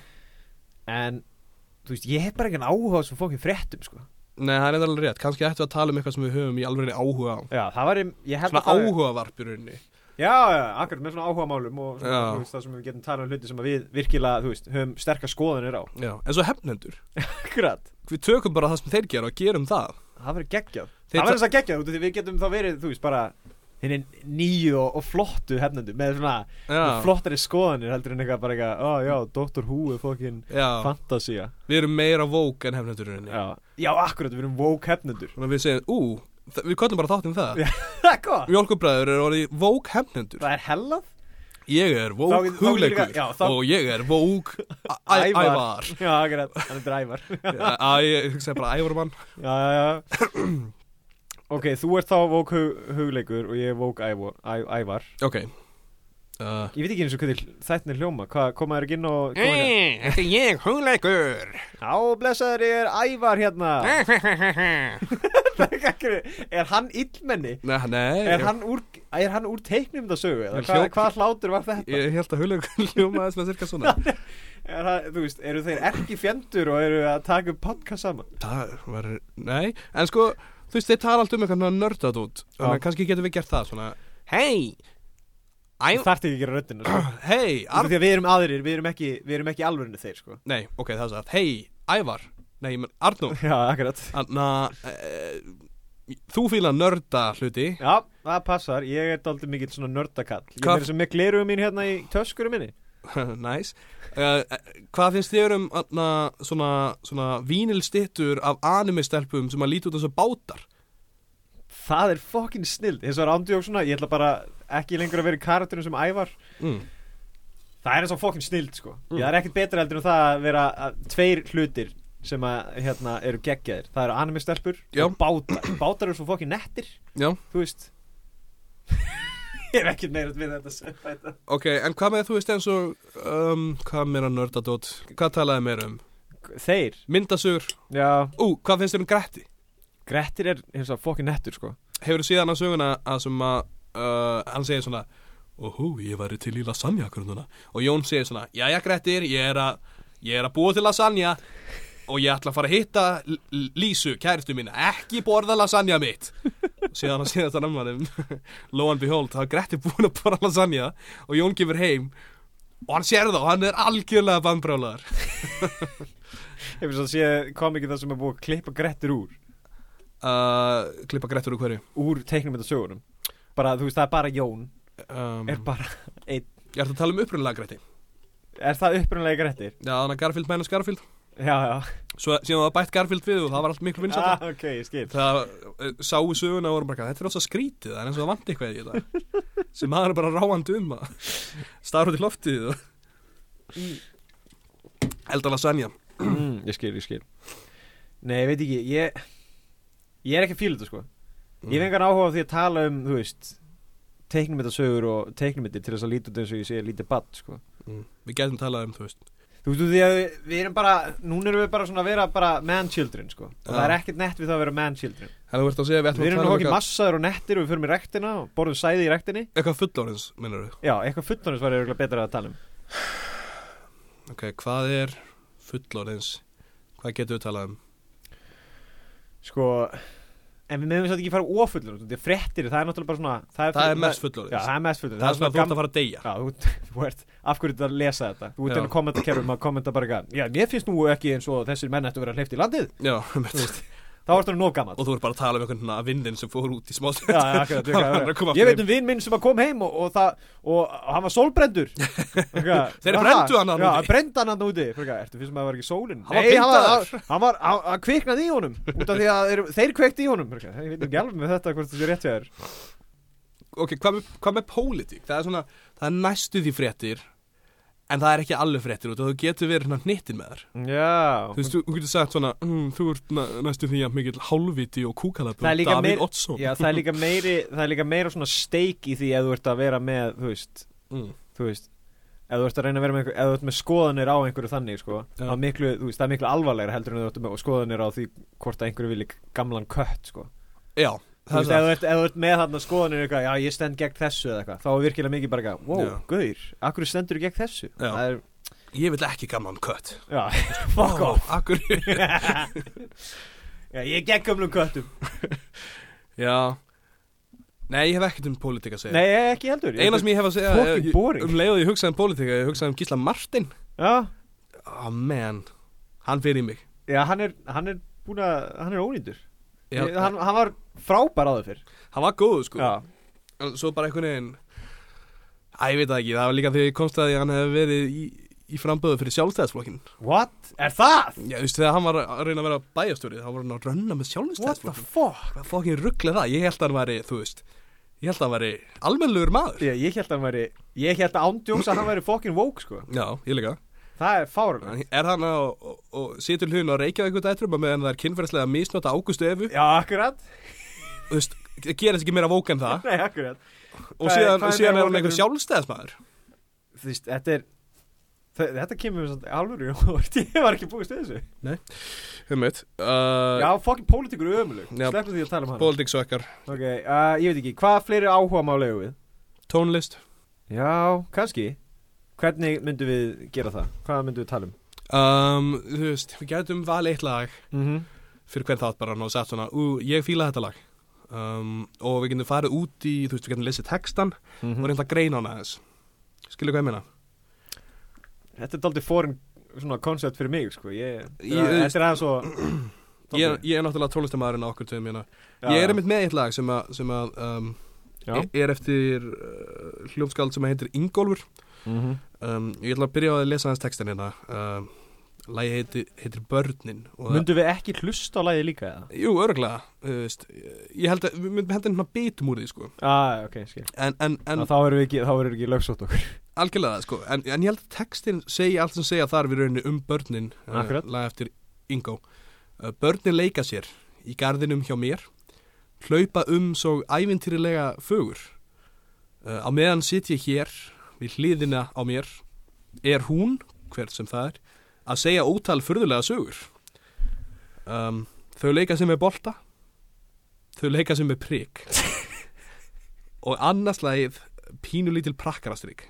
Speaker 3: En, þú veist, ég hef bara ekki áhuga á þessum fólkin fréttum, sko
Speaker 2: Nei, það er enda alveg rétt Kannski ættum við að tala um eitthvað sem við höfum í alveg áhuga á
Speaker 3: Já, það var, ég held
Speaker 2: Svona
Speaker 3: að það-
Speaker 2: áhugavarp í rauninni
Speaker 3: Já, já, akkurat með svona áhuga málum og svona,
Speaker 2: Já.
Speaker 3: þú veist, það sem við getum talað um hluti sem að við virkilega, þú veist, höfum sterkar skoðanir á
Speaker 2: Já, en svo hefnendur
Speaker 3: Akkurat,
Speaker 2: Við tökum bara það sem þeir gera og gerum það
Speaker 3: það verður geggjað
Speaker 2: Þeir
Speaker 3: Það verður þess að geggjað, þú veist, því við getum þá verið, þú veist, bara henni nýju og, og flottu hefnendu með svona
Speaker 2: Já,
Speaker 3: flottari skoðanir heldur en eitthvað bara eitthvað, ó já, Dr. Who er fokkin
Speaker 2: já
Speaker 3: fantasía
Speaker 2: við erum meira vók en hefnendur í rauninni
Speaker 3: Já, já, akkurat, við erum woke hefnendur
Speaker 2: Þannig að við segjum, ú, þa- við kollum bara þáttum það
Speaker 3: Já. Það er góð,
Speaker 2: Mjólkubræður er orðið vók hefnendur
Speaker 3: það er hellað
Speaker 2: Ég er
Speaker 3: Þá-
Speaker 2: vók
Speaker 3: þá- þá-
Speaker 2: hugleikur
Speaker 3: já, þá-
Speaker 2: og ég er vók æ- æ- ævar
Speaker 3: Já, akkurat, hann er drævar
Speaker 2: Æ, ég hugsaði bara ævarmann
Speaker 3: Já, já, já Ok, þú ert þá vók hug, hugleikur og ég er vók ævo, æ, ævar
Speaker 2: Ok, uh,
Speaker 3: Ég veit ekki eins og hvernig þættin er hljóma Hvað komaður ekki inn og koma hérna?
Speaker 2: Þetta er ég, hugleikur
Speaker 3: Á, blessaður er Ævar hérna Er hann illmenni?
Speaker 2: Nei, nei
Speaker 3: Er hann úr, er hann úr teiknum það sögu?
Speaker 2: Hann
Speaker 3: Hvað,
Speaker 2: hljóp-
Speaker 3: hvað hlátur var þetta?
Speaker 2: Ég held að hugleikur hljómaði svona cirka svona
Speaker 3: Er það, þú veist, eru þeir ekki fjendur og eru að taka upp podcast saman?
Speaker 2: Það var, nei En sko, þú veist, þeir tala allt um eitthvað nördat út Þannig að
Speaker 3: Já.
Speaker 2: kannski getum við gert það svona Hei Æ,
Speaker 3: Það þarf ekki að gera röddina sko.
Speaker 2: hei,
Speaker 3: Ar...
Speaker 2: Ar
Speaker 3: Því að við erum aðrir, við erum ekki, við erum ekki alvörinu þeir sko.
Speaker 2: Nei, ok, það er satt Hei, Ævar Nei, ég menn, Arnú
Speaker 3: Já, akkurat
Speaker 2: Anna, e, þú fíla nörda hluti
Speaker 3: Já, það passar, ég er daldið mikill svona nördakall Ég
Speaker 2: Hvað-
Speaker 3: er sem með gleruðu mín hérna í töskurum minni
Speaker 2: Næs uh, Hvað finnst þér um anna, svona, svona vínilstittur af anime-stelpum sem að líti út eins og bátar?
Speaker 3: Það er fokkin snild, eins og er ándjók svona Ég ætla bara ekki lengur að vera í karakterum sem ævar
Speaker 2: Mm.
Speaker 3: Það er eins og fokkin snild sko Það er ekkert betra heldur en það að vera að, tveir hlutir sem að, hérna, eru geggjaðir Það eru anime stelpur
Speaker 2: Já.
Speaker 3: og bátar Bátar eru svo fokkin nettir,
Speaker 2: Já,
Speaker 3: þú veist Ég er ekkert meira við þetta sem þetta
Speaker 2: ok, en hvað með þú veist eins og um, Hvað meira nördadót? Hvað talaði meira um?
Speaker 3: Þeir,
Speaker 2: Myndasögur?
Speaker 3: já,
Speaker 2: Ú, hvað finnst þér um Gretti?
Speaker 3: Grettir er eins og fokkin nettur sko
Speaker 2: Hefur þú síðan á söguna að sem að uh, Hann segir svona Óhú, ég væri til í lasagna grununa Og Jón segir svona Jæja Grettir, ég er að Ég er að búa til lasagna Og ég ætla að fara að hitta L- L- Lísu, kæristu mín Ekki borða lasagna mitt Og Síðan að síðan þetta nammanum Lo and behold, það er Grettir búin að borða lasagna Og Jón gefur heim Og hann sér það og hann er algjörlega bannbrálaðar
Speaker 3: Hefur svo séð komikið það sem er búið að klippa Grettir úr
Speaker 2: uh, Klippa Grettir úr hverju
Speaker 3: Úr teiknum þetta sögunum Bara, þú veist, það er bara Jón
Speaker 2: um,
Speaker 3: Er bara einn
Speaker 2: Ég ætla að tala um upprunalega Gretti
Speaker 3: Er það upprunalega Grettir?
Speaker 2: Já, þannig að Garfield mænast Garfield
Speaker 3: Já, já
Speaker 2: Svo síðan var bætt Garfield við og það var allt miklu vinsælt
Speaker 3: ah, Ok, ég skil
Speaker 2: Það eh, sáu söguna og voru bara Þetta er alltaf skrítið, það er eins og það vandi eitthvað í þetta sem maður er bara ráandi um að starra út í loftið og elda lasagna
Speaker 3: mm, Ég skil, ég skil Nei, ég veit ekki, ég Ég er ekki að fíla þetta, sko Ég hef engan áhuga á því að tala um, þú veist Teiknum þetta sögur og teiknum þetta til þess að líta út eins og ég sé lítið badd, sko
Speaker 2: mm. Við gætum talað um, þú veist
Speaker 3: Þú veist, því að við, við erum bara Núna erum við bara svona að vera bara man-children, sko Og
Speaker 2: Já.
Speaker 3: það er ekkert nett við það að vera man-children
Speaker 2: Þannig verður að segja að við ætlum að
Speaker 3: Við erum
Speaker 2: tala
Speaker 3: nú
Speaker 2: um
Speaker 3: ekki
Speaker 2: eitthvað,
Speaker 3: massaður og nettir og við förum í rektina og borðum sæði í rektinni
Speaker 2: eitthvað fullorins, minnur við
Speaker 3: Já, eitthvað fullorins var eiginlega betra að tala um
Speaker 2: Ok, hvað er fullorins? Hvað getum við talað um?
Speaker 3: Sko, en við meðum satt ekki fara ofullorins Því að fréttir, það er náttúrulega bara svona Það er,
Speaker 2: Það er mest fullorins
Speaker 3: Já, það er mest fullorins
Speaker 2: Það er svona að þú ert að fara að deyja
Speaker 3: Já, þú, þú ert, af hverju þetta að lesa þetta Þú ert
Speaker 2: Já.
Speaker 3: enn að kommenta kerfum að kommenta bara eitthvað Já, mér finnst nú ekki eins og þessir menn ættu að vera hleyft í landið
Speaker 2: Já, einmitt.
Speaker 3: Þá ertu nú nóg gammal
Speaker 2: og þú ert bara að tala um einhvern að vindin sem fór út í smástund
Speaker 3: Já, já, akkurat,
Speaker 2: Hann var að
Speaker 3: akkurat,
Speaker 2: koma
Speaker 3: ég
Speaker 2: aftur
Speaker 3: veit um vinn minn sem að kom heim og, og, það, og hann var sólbrendur Þeir
Speaker 2: Þeir brenndu hann þarna
Speaker 3: Já,
Speaker 2: úti.
Speaker 3: brenndu hann hann úti Fyrir, Ertu fyrst maður var ekki sólin
Speaker 2: Hann var
Speaker 3: hann var,
Speaker 2: pyntaður.
Speaker 3: hann var hann, hann kviknaði í honum Út af því að þeir, þeir kveikti í honum Fyrir, Ég veit ekki alveg með þetta hvort þetta er rétt hjá þér
Speaker 2: ok, hvað með, hvað með pólitík? Það er svona, það er næstu því fréttir en það er ekki alveg fréttir út og þú getur verið hérna hnittin með þær Þú
Speaker 3: Já
Speaker 2: veist, þú, þú getur sagt svona, mm, þú ert næ- næstu því að mikill hálviti og kúkalabur
Speaker 3: Það er líka
Speaker 2: Davíð
Speaker 3: meir-
Speaker 2: Oddsson
Speaker 3: Já, það er líka meiri Það er líka meira svona steik í því að þú ert að vera með Þú veist,
Speaker 2: mm,
Speaker 3: þú veist Ef þú ert að reyna að vera með, einhver, ef þú ert með skoðanir á einhverju þannig sko,
Speaker 2: Já.
Speaker 3: þá er miklu, þú veist, það er miklu alvarlegra heldur en ef þú ert með skoðanir á því hvort að einhverju vilji gamlan kött sko.
Speaker 2: Já,
Speaker 3: Þú
Speaker 2: það
Speaker 3: veist,
Speaker 2: er
Speaker 3: ef
Speaker 2: það
Speaker 3: þú ert, ef þú ert með þarna skoðanir eitthvað, já ég stend gegn þessu eða eitthvað, þá er virkilega mikið bara eitthvað, wow,
Speaker 2: Já.
Speaker 3: gaur, akkur stendur þú gegn þessu?
Speaker 2: Já.
Speaker 3: Það er,
Speaker 2: Ég vil ekki gamlan kött
Speaker 3: já, fuck off.
Speaker 2: Akkur
Speaker 3: já, ég er gegn gömlum köttum.
Speaker 2: Já Nei, ég hef ekkert um pólitík að segja
Speaker 3: Nei, ég ekki heldur.
Speaker 2: Eina sem ég hef að segja
Speaker 3: Fucking
Speaker 2: eh,
Speaker 3: boring.
Speaker 2: um leið og ég hugsaði um pólitík Ég hugsaði um Gísla Martin
Speaker 3: Já,
Speaker 2: Oh man, hann fyrir mig
Speaker 3: já, hann er, hann er búin að, hann er ónýndur.
Speaker 2: Já,
Speaker 3: Ég- hann, hann var frábær áður fyrr.
Speaker 2: hann var góð sko
Speaker 3: Já,
Speaker 2: En svo bara einhvern veginn Æ, ég veit það ekki, það var líka þegar ég komst að því að hann hefði verið í, í framböðu fyrir sjálfstæðsflokkin
Speaker 3: what? Er það?
Speaker 2: Já, þú veist, þegar hann var að reyna að vera bæjastjóri þá var hann að rönna með
Speaker 3: What the
Speaker 2: sjálfstæðsflokkin
Speaker 3: fuck?
Speaker 2: Hvað fokkin rugglega það, ég held að hann væri, þú veist Ég held að hann væri almennlegur maður
Speaker 3: Ég, ég held að hann væri, ég held að ándjóms að hann væri fucking woke sko.
Speaker 2: Já, ég líka
Speaker 3: Það er fárlega.
Speaker 2: Er hann að, og, og situr hlutin á Reykjavík dætrum að meðan það er kynferðslega misnota Ágústu Efu
Speaker 3: Já, akkurat.
Speaker 2: Þú veist, gerist ekki meira vók en það
Speaker 3: Nei, akkurat.
Speaker 2: Og
Speaker 3: Hvað er-
Speaker 2: síðan,
Speaker 3: hvað er
Speaker 2: síðan er
Speaker 3: meira
Speaker 2: hann einhver
Speaker 3: vonleikur?
Speaker 2: sjálfstæðismæður
Speaker 3: Þú veist, þetta er þe- Þetta kemur með alvöru í óvart Ég var ekki búist við þessu
Speaker 2: Hummitt uh,
Speaker 3: Já, fokkin pólitíkur er ömuleg
Speaker 2: Já.
Speaker 3: Sleppum því að tala um hann
Speaker 2: Politics og ekkar
Speaker 3: Ok, uh, ég veit ekki, hvað fleiri áhuga má legu við?
Speaker 2: Tónlist
Speaker 3: Já, kannski Hvernig myndum við gera það? Hvað myndum við tala um?
Speaker 2: um, Þú veist, við gætum valið eitt lag
Speaker 3: Mm -hmm.
Speaker 2: fyrir hvern þátt bara og sett svona, ú, ég fíla þetta lag um, og við getum farið út í þú veist, við getum lesið textan og reynda að greina hana aðeins skilur hvað ég meina
Speaker 3: Þetta er daldið foreign svona koncept fyrir mig, sko ég,
Speaker 2: Ég-
Speaker 3: Þetta er aðeins svo
Speaker 2: ég, ég er náttúrulega tónlistamæðurinn á okkur tveim hérna. ég er einmitt með eitt lag sem að, sem að um,
Speaker 3: Já,
Speaker 2: e- er eftir uh, hljómskáld sem að heitir Ingólfur
Speaker 3: Mhm.
Speaker 2: um, ég ætla að byrja á að lesa hans textan hérna um, lagi heitir, heitir Börnin og það-
Speaker 3: Myndum við ekki hlusta á lagið líka eða?
Speaker 2: Jú, örglega, þú veist, ég held að, við myndum held að hérna bitum úr því, sko,
Speaker 3: Ah, ok, skil
Speaker 2: en, en, en
Speaker 3: en, Þá erum við ekki, þá erum við ekki lögsótt okkur
Speaker 2: algjörlega, sko, en, en ég held að textin segja allt sem segja þar við rauninni um börnin,
Speaker 3: Akkurat.
Speaker 2: lag eftir Ingo. Uh, börnin leika sér í gardinum hjá mér, hlaupa um svo ævintýrilega fögur. Uh, á meðan sit ég hér, við hliðina á mér, er hún, hvert sem það er, að segja ótal furðulega sögur. Um, þau leika sem er bolta, þau leika sem er prik. Og annars lagið pínulítil prakkarastrygg.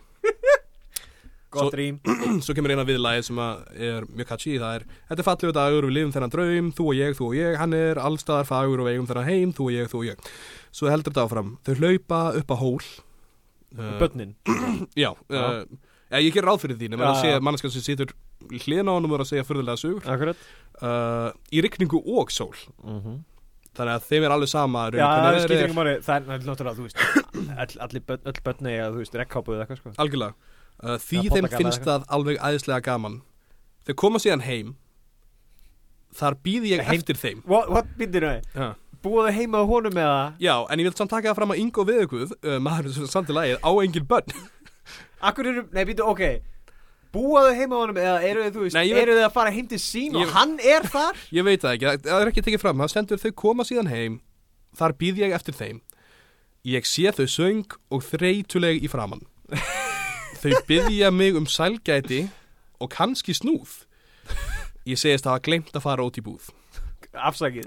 Speaker 2: Svo-
Speaker 3: Gott rým
Speaker 2: Svo kemur eina viðlæði sem að er mjög catchy Það er, þetta er fallegu dagur, við lifum þennan draum Þú og ég, þú og ég, hann er allstaðar fagur Og við eigum þennan heim, þú og ég, þú og ég Svo heldur þetta áfram, þau hlaupa upp á hól uh,
Speaker 3: Bönnin
Speaker 2: Já,
Speaker 3: Já.
Speaker 2: uh, ja, ég ger ráð fyrir því Nefnir
Speaker 3: Já,
Speaker 2: að sé
Speaker 3: já.
Speaker 2: að mannskan sem situr hlýðan á honum Og er að segja furðulega sögur
Speaker 3: Akkurat
Speaker 2: uh, Í rigningu og sól
Speaker 3: Mhm.
Speaker 2: Þannig að þeim er alveg sama í rauninni
Speaker 3: Já, það
Speaker 2: hvernig
Speaker 3: skiptir
Speaker 2: veðrið
Speaker 3: ekki máli Það er náttúrulega, þú veist all, Allir börn, öll börn eiga, þú veist, rekkápuð eða eitthvað sko
Speaker 2: Algjörlega uh, Því
Speaker 3: Eða
Speaker 2: þeim
Speaker 3: pollagalla
Speaker 2: finnst það alveg æðislega gaman Þau koma síðan heim Þar býð ég
Speaker 3: Heim-
Speaker 2: eftir þeim
Speaker 3: What, what byndir þau?
Speaker 2: Já.
Speaker 3: Búið þau heima á honum eða?
Speaker 2: Já, en ég vil samt taka það fram að Ingo Viðugvöð, uh, maður sem samt í lagið, á engin börn.
Speaker 3: Akkur eru, nei, býtu, ok Búið þau heima á honum eða eru þau, þú veist
Speaker 2: Nei, ég veit-
Speaker 3: Eru þau að fara heim til sín
Speaker 2: Ég-
Speaker 3: og hann er þar?
Speaker 2: Ég veit það ekki, það- það er ekki tekið fram, það stendur þau koma síðan heim, þar býð ég eftir þeim. Ég sé þau söng og þreytuleg í framann. þau byðja mig um sælgæti og kannski snúð. Ég segist að hafa glemt að fara út í búð.
Speaker 3: Afsakið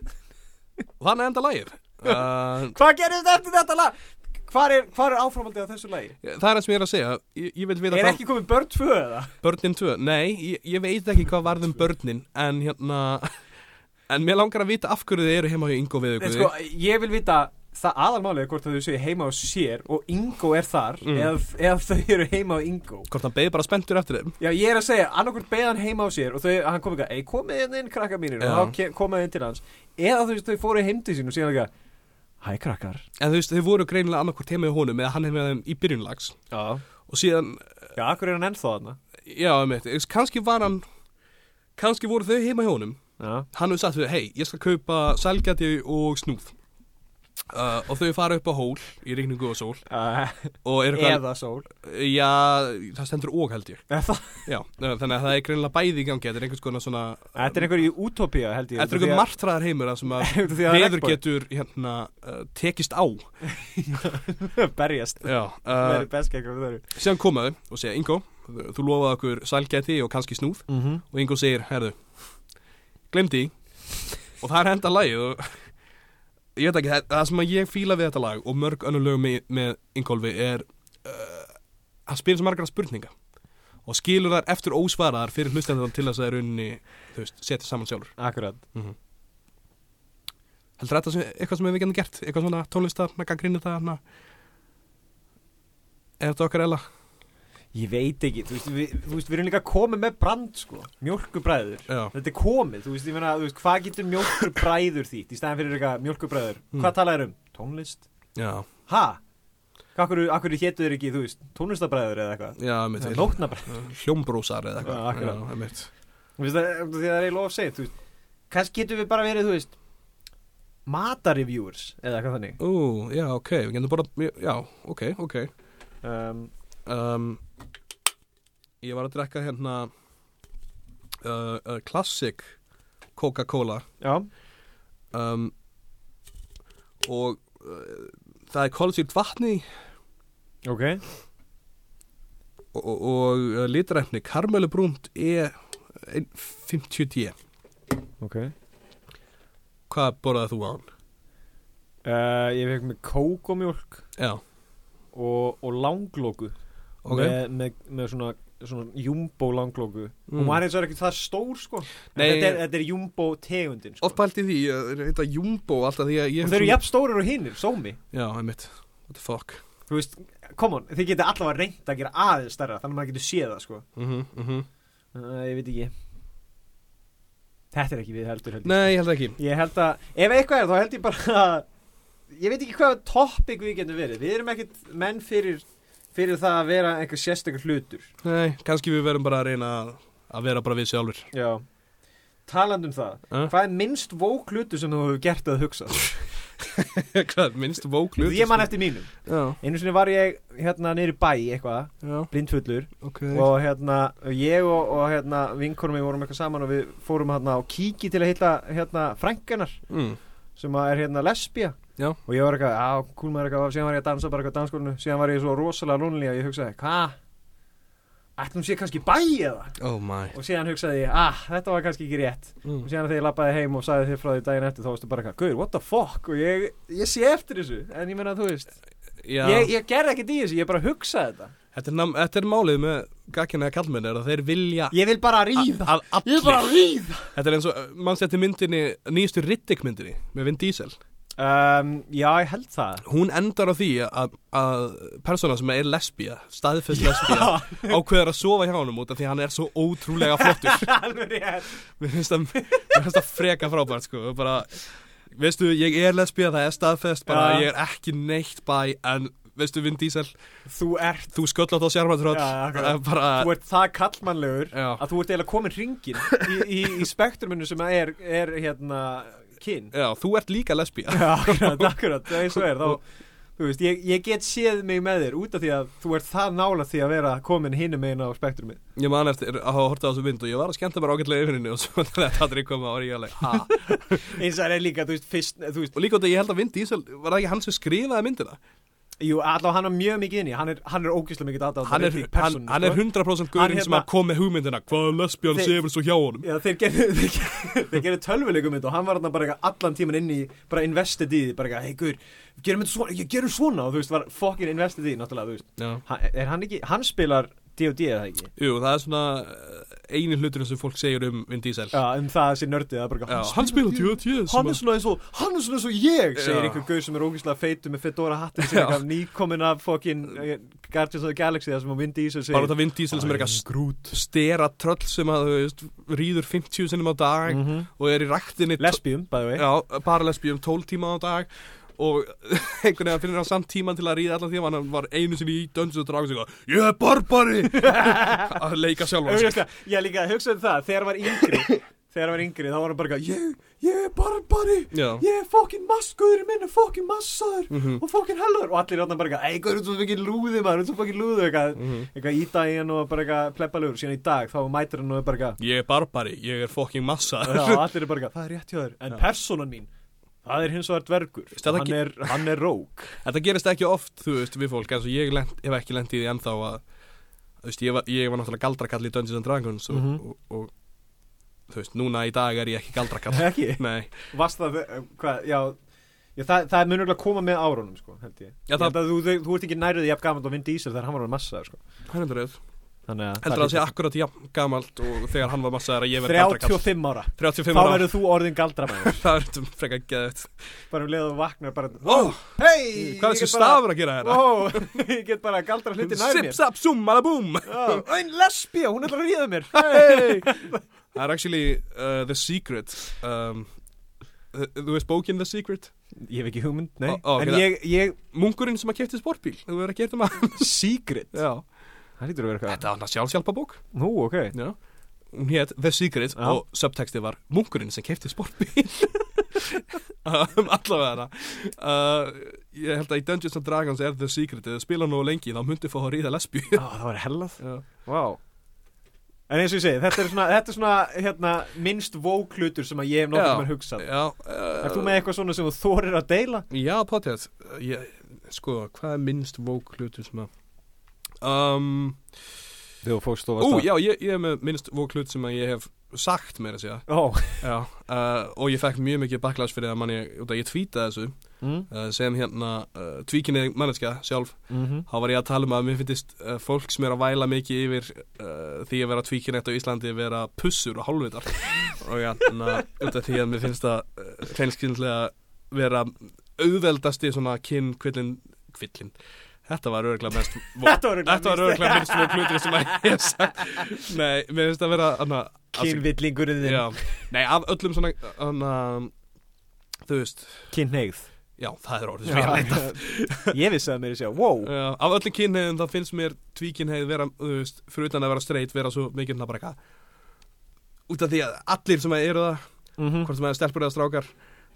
Speaker 2: Og þannig enda lagið. Uh,
Speaker 3: Hvað gerist eftir þetta lag? Hvar er, hvar er áframaldið á þessu lagi?
Speaker 2: það er það sem ég er að segja, ég, ég vil vita
Speaker 3: Er
Speaker 2: fram-
Speaker 3: ekki komið börn tvö eða?
Speaker 2: Börnin 2, nei, ég, ég veit ekki hvað varð um börnin En hérna En mér langar að vita af hverju þið eru heima hjá Ingo við
Speaker 3: Nei,
Speaker 2: ykkur
Speaker 3: sko, ég vil vita það aðalmálið er hvort að þau séu heima á sér og Ingo er þar
Speaker 2: Mm.
Speaker 3: eða, eða þau eru heima á Ingo
Speaker 2: Hvort hann beði bara spenntur eftir þeim
Speaker 3: Já, ég er að segja, annarkvort beða hann heima á sér og þau, hann kom eitthvað, ei, komið inn inn, krakkar mínir
Speaker 2: Já.
Speaker 3: og þá ke- koma inn til hans eða þú veist, þau fóru heim til sín og síðan eitthvað Hæ, krakkar
Speaker 2: En þú veist, þau voru greinilega annarkvort heima hjá honum Eða hann heima hjá þeim í byrjunlags
Speaker 3: Já,
Speaker 2: Og síðan,
Speaker 3: já, akkur er hann ennþá þarna
Speaker 2: já, einmitt, þú veist, kannski var hann Kannski voru þau heima hjá honum
Speaker 3: Já,
Speaker 2: Hann hefur sagt þau, hei, ég skal kaupa sælgæti og snúð uh, Og þau fara upp á hól Í rigningu og sól
Speaker 3: uh,
Speaker 2: Og eru
Speaker 3: eða sól
Speaker 2: Já, það stendur og held ég
Speaker 3: Eða það-
Speaker 2: Já, þannig að það er greinilega bæði í gangi Þetta er einhvers konar svona
Speaker 3: Þetta er einhver í útópía, held ég
Speaker 2: Þetta er einhver martraðar heimur þar sem að veður
Speaker 3: margt
Speaker 2: getur hérna, uh, tekist á
Speaker 3: getur Berjast,
Speaker 2: Já,
Speaker 3: það
Speaker 2: uh,
Speaker 3: er best gegn þau
Speaker 2: síðan komaðu og segja Ingo, þú þú lofaði okkur sælgæti og kannski snúð
Speaker 3: mm -hmm.
Speaker 2: og Ingo segir, herðu, glemdi og það er enda lagið og ég veit ekki, það, það sem að ég fíla við þetta lag og mörg önnur lög með, með Ingolfi er uh, hann spyrir svo margra spurninga og skilur þar eftir ósvaraðar fyrir hlustendan til þess að það er unni, þú veist, setja saman sjálfur
Speaker 3: Akkurat
Speaker 2: Heldur þetta sem, eitthvað sem við getum gert? Eitthvað svona tónlistar, nakka grínir það, hana Er þetta okkar eða?
Speaker 3: Ég veit ekki, þú veist, við, þú veist, við erum líka komið með brand, sko, mjölkubræður.
Speaker 2: Já
Speaker 3: Þetta er komið, þú veist, ég meina, þú veist, hvað getur mjölkubræður þýtt í stæðan fyrir eitthvað mjölkubræður?
Speaker 2: Mm.
Speaker 3: Hvað talaður um? Tónlist?
Speaker 2: Já,
Speaker 3: Ha? Akkur, akkur hétu þér ekki, þú veist, tónlistabræður eða eitthvað?
Speaker 2: já, mitt
Speaker 3: Eða Nótnabræður.
Speaker 2: Hljómbrósar eða
Speaker 3: Já,
Speaker 2: eitthvað
Speaker 3: akkurat.
Speaker 2: Já, mitt
Speaker 3: Þú veist, það, því það er eiginlega ofsegð, þú veist, kannski getum við bara verið, þú veist, matarreviewers eða eitthvað þannig.
Speaker 2: Ú, já, ok, við getum bara, já, ok, ok
Speaker 3: Um,
Speaker 2: um, Ég var að drekka hérna uh, uh, Classic Coca-Cola
Speaker 3: já,
Speaker 2: um, og uh, það er kolsýrt vatni í.
Speaker 3: Ok
Speaker 2: og, og, og uh, litarefni karmelubrúnt e 50D
Speaker 3: Ok
Speaker 2: Hvað borðaði þú á hann?
Speaker 3: uh, Ég fekk með kókomjólk
Speaker 2: Já,
Speaker 3: og, og langlóku
Speaker 2: ok
Speaker 3: með, með, með svona, svona jumbo langlóku
Speaker 2: Mm.
Speaker 3: Hún var eins Eh, og er ekki það stór sko En
Speaker 2: Nei.
Speaker 3: þetta, er, þetta er jumbo tegundin sko.
Speaker 2: Oft pælt í því, ég heit að jumbo alltaf því að ég
Speaker 3: Og þeir eru jafn stórir og hinnir, sómi
Speaker 2: Já, einmitt, what the fuck
Speaker 3: Þú veist, come on, þið geta allavega reynt að gera aðeins stærra Þannig að maður getur séð það sko
Speaker 2: Mhm, mhm.
Speaker 3: uh, Ég veit ekki Þetta er ekki við heldur heldur
Speaker 2: Nei, ég held ekki
Speaker 3: Ég held að, ef eitthvað er þá held ég bara að Ég veit ekki hvað topic við getum verið Við erum ekkert menn fyrir Fyrir það að vera einhver sérstakur hlutur
Speaker 2: Nei, kannski við verðum bara að reyna að, að vera bara við sjálfur
Speaker 3: Já Talandi um það,
Speaker 2: Eh?
Speaker 3: hvað er minnst vók hlutu sem þú hefur gert að hugsa?
Speaker 2: Hvað, minnst vóklut
Speaker 3: Ég man eftir mínum
Speaker 2: Já,
Speaker 3: Einu sinni var ég hérna niður í bæ eitthvað,
Speaker 2: já,
Speaker 3: blindfullur
Speaker 2: ok
Speaker 3: og hérna, ég og, og hérna vinkonum við vorum eitthvað saman og við fórum hérna á kíki til að hitta hérna frænkenar
Speaker 2: mm.
Speaker 3: sem að er hérna lesbía
Speaker 2: Já.
Speaker 3: og ég var eitthvað, já, cool maður eitthvað síðan var ég að dansa bara eitthvað á dansskólinu síðan var ég svo rosalega lonely að ég hugsaði, hvað? Ætlum sé kannski bæ eða?
Speaker 2: Oh my
Speaker 3: og síðan hugsaði ég, ah, þetta var kannski ekki rétt og
Speaker 2: mm.
Speaker 3: síðan þegar ég lappaði heim og sagði þér frá því daginn eftir þá varstu bara eitthvað, guður, what the fuck og ég, ég sé eftir þessu, en ég menna þú veist
Speaker 2: Já,
Speaker 3: ég, ég gerði ekkert í þessu, ég bara hugsaði þetta
Speaker 2: Þetta, er nam, þetta er málið með gagkina eða kallmenn er að þeir vilja
Speaker 3: ég vil bara ríða,
Speaker 2: að
Speaker 3: ég
Speaker 2: allir
Speaker 3: vil bara ríða
Speaker 2: Þetta er eins og, mann setti myndinni, nýjastu Riddick myndinni með Vin Diesel
Speaker 3: um, já, ég held það
Speaker 2: Hún endar á því að, að persóna sem er lesbía, staðfest lesbía
Speaker 3: Já,
Speaker 2: ákveður að sofa hjá honum út af því að hann er svo ótrúlega flottur
Speaker 3: alveg rétt
Speaker 2: Mér finnst það, mér finnst það freka frábært sko bara, veistu, ég er lesbía, það er staðfest bara,
Speaker 3: Já.
Speaker 2: ég er ekki neitt bæ en, veistu, Vin Diesel
Speaker 3: þú ert,
Speaker 2: þú sköllótt á sjármættröð
Speaker 3: Já, akkurat.
Speaker 2: bara,
Speaker 3: þú ert það kallmannlegur
Speaker 2: já,
Speaker 3: að þú ert eiginlega komin hringin í, í, í spektruminu sem er, er hérna kyn
Speaker 2: já, þú ert líka lesbía
Speaker 3: Já, akkurat, akkurat, það er svo er þá, þú veist, ég, ég get séð mig með þér út af því að þú ert það nála því að vera komin hinum megin á spektrumið
Speaker 2: ég man eftir að hafa hortið á þessu mynd og ég var að skemmta bara ágætlega yfirinni og svo þegar þetta aðrið koma var ég alveg, ha
Speaker 3: eins og það er líka, þú veist, fyrst, þú veist
Speaker 2: og líka út að ég held að Vin Diesel, var það ekki hann sem skrifaði myndina
Speaker 3: jú, allavega hann er mjög mikið inn í, hann er, hann er ógislega mikið aðdáð
Speaker 2: hann er, hann, hann er 100%
Speaker 3: Hann
Speaker 2: gaurinn
Speaker 3: hérna-
Speaker 2: sem að kom með hugmyndina hvað lesbían
Speaker 3: Þe-
Speaker 2: sefur svo hjá honum
Speaker 3: Já, þeir gerðu, þeir gerðu, þeir gerðu tölvuleikumynd og hann var þarna bara eitthvað allan tíman inn í, bara investið í því, bara eitthvað, hei guður, gerum þetta svona, ég gerum svona og þú veist, var fokkin investið í, því, náttúrulega, þú veist,
Speaker 2: já.
Speaker 3: hann, er hann ekki, hann spilar D.O.D. eða ekki?
Speaker 2: Jú, það er svona eh, eini hluturinn sem fólk segir um Vin Diesel
Speaker 3: Já, um það að sé nördið, það er bara
Speaker 2: Já,
Speaker 3: eitthvað,
Speaker 2: hann spilaði D.O.D.
Speaker 3: hann er svona eins og, hann er svona eins og ég, segir
Speaker 2: Já.
Speaker 3: einhver guður sem er ógíslega feitu með fedora hattin sem
Speaker 2: Já.
Speaker 3: er eitthvað nýkomin af fokkin eh, Guardians of the Galaxy þar sem hún vindi í sig og
Speaker 2: bara
Speaker 3: segir,
Speaker 2: þetta Vin Diesel sem er eitthvað
Speaker 3: skrút,
Speaker 2: stera tröll sem að, þú veist, rýður 50 sinnum á dag
Speaker 3: Mhm.
Speaker 2: og er í ræktinni
Speaker 3: lesbíum, by the way,
Speaker 2: Já, bara lesbíum 12 tíma á dag og einhvern veginn finnir hann samt tíman til að ríða allan því að hann var einu sinni í Dungeons and Dragons og eitthvað, ég er barbari að leika sjálfan sig
Speaker 3: Auðvitað, ég líka hugsaði um það, þegar hann var yngri Þegar hann var yngri, þá var hann bara eitthvað Ég, ég er barbari,
Speaker 2: Já.
Speaker 3: ég er fokkin massguður minn er fokkin massaður
Speaker 2: Mhm.
Speaker 3: og fokkin hellur Og allir ráðan bara eitthvað, ei, hvað er þetta fokkin lúði maður, þetta fokkin lúði eitthvað
Speaker 2: Mhm.
Speaker 3: Eitthvað í daginn og bara eitthvað pleppalur Síðan í dag, þá mætir hann og er bara eitthvað
Speaker 2: Ég er barbari, ég er fucking massa
Speaker 3: Já, allir er bara eitthvað, það er rétt hjá þér En persónan mín, það er hins vegar dvergur
Speaker 2: Veist, það
Speaker 3: Hann
Speaker 2: ge-
Speaker 3: er, hann er rók
Speaker 2: Þetta gerist ekki oft, þú veist, við fólk eins og ég lent, hef ekki lent í því ennþá að þú veist, ég var, ég var náttúrulega galdrakall í Dungeons and Dragons og,
Speaker 3: Mhm.
Speaker 2: og, og, þú veist, núna í dag er ég ekki galdrakall
Speaker 3: Ekki,
Speaker 2: Nei,
Speaker 3: vast það, eh, hvað, já Já, það, það munur að koma með árunum, sko, held ég.
Speaker 2: Já,
Speaker 3: ég
Speaker 2: það-
Speaker 3: held að þú, þú, þú ert ekki nærið jafn gaman og Vin Diesel þegar hann var hann massa, sko.
Speaker 2: hann heldur auð
Speaker 3: Þannig að
Speaker 2: Heldur að það sé akkurat jafn gamalt og þegar hann var massaðar að ég verð galdrakall
Speaker 3: 35 ára
Speaker 2: 35
Speaker 3: Þá
Speaker 2: ára
Speaker 3: verður þú orðin galdramæður
Speaker 2: Það er frekar geðut
Speaker 3: Bara um leið og vaknar bara
Speaker 2: Ó,
Speaker 3: Hei
Speaker 2: hvað er þessi stafur að gera hérna?
Speaker 3: Ó, ég get bara galdra hluti nær
Speaker 2: Sip,
Speaker 3: mér
Speaker 2: sap, zoom, alabúm
Speaker 3: Ó, Ein lesbía, hún ætlar að ríða mér
Speaker 2: Hey! Það er actually uh, The Secret um, uh, Þú veist bókin The Secret?
Speaker 3: Ég hef ekki hugmynd,
Speaker 2: Ó,
Speaker 3: nei
Speaker 2: ó, ok,
Speaker 3: En
Speaker 2: það-
Speaker 3: ég, ég,
Speaker 2: Mungurinn sem að kefti sportbíl Þú verður að gera það maður
Speaker 3: secret
Speaker 2: Já
Speaker 3: Það lítur að vera eitthvað
Speaker 2: Þetta var hann að sjálfsjálpa bók
Speaker 3: Nú, ok
Speaker 2: Já Hún hétt The Secret
Speaker 3: Já.
Speaker 2: og subtextið var Munkurinn sem kefti sportbíl um, Allavega hana uh, Ég held að í Dungeons and Dragons er The Secret Eða spila nú lengi þá myndi fá að ríða lesbíu
Speaker 3: Ó, það var hellað
Speaker 2: Já.
Speaker 3: Vá En eins og ég segi, þetta er svona, þetta er svona hérna, minnst vóklutur sem að ég hef
Speaker 2: Já.
Speaker 3: nokkuð mér hugsað
Speaker 2: Já
Speaker 3: Er
Speaker 2: uh,
Speaker 3: þú með eitthvað svona sem þú þorir að deila?
Speaker 2: Já, potið ég, sko, hvað er minnst vók hlutur sem að um,
Speaker 3: Þegar fókst og
Speaker 2: Ú, já, ég, ég er með minnst vók hlut sem að ég hef sagt meira að segja
Speaker 3: Ó,
Speaker 2: já, uh, og ég fekk mjög mikið backlash fyrir það manni, út að ég tvítaði þessu
Speaker 3: mm?
Speaker 2: uh, sem hérna uh, tvíkinni manneskja sjálf
Speaker 3: Mm -hmm.
Speaker 2: þá var ég að tala um að mér finnist uh, fólk sem er að væla mikið yfir uh, því að vera tvíkinett á Íslandi vera pussur og hálfvitar og já, na, út af því að mér finnst það uh, hreinskynlega vera auðveldasti svona kinn kvillin, kvillin Þetta var örgulega mest
Speaker 3: Þetta var örugglega
Speaker 2: Þetta var
Speaker 3: minnst-
Speaker 2: örgulega minnst mjög hlutur sem að ég hef sagt Nei, mér finnst það vera anna,
Speaker 3: Kynvillingurinn þinn,
Speaker 2: já, Nei, af öllum svona anna, Þú veist
Speaker 3: kynneigð
Speaker 2: Já, það er orðið sem ég er að leita
Speaker 3: Ég vissi það meira að segja, wow
Speaker 2: Já, af öllum kynheiðum þá finnst mér tvíkynheið vera, þú veist, fyrir utan að vera straight vera svo mikið svona bara eitthvað út af því að allir sem eru það
Speaker 3: mm -hmm.
Speaker 2: hvort sem er stelpur eða strákar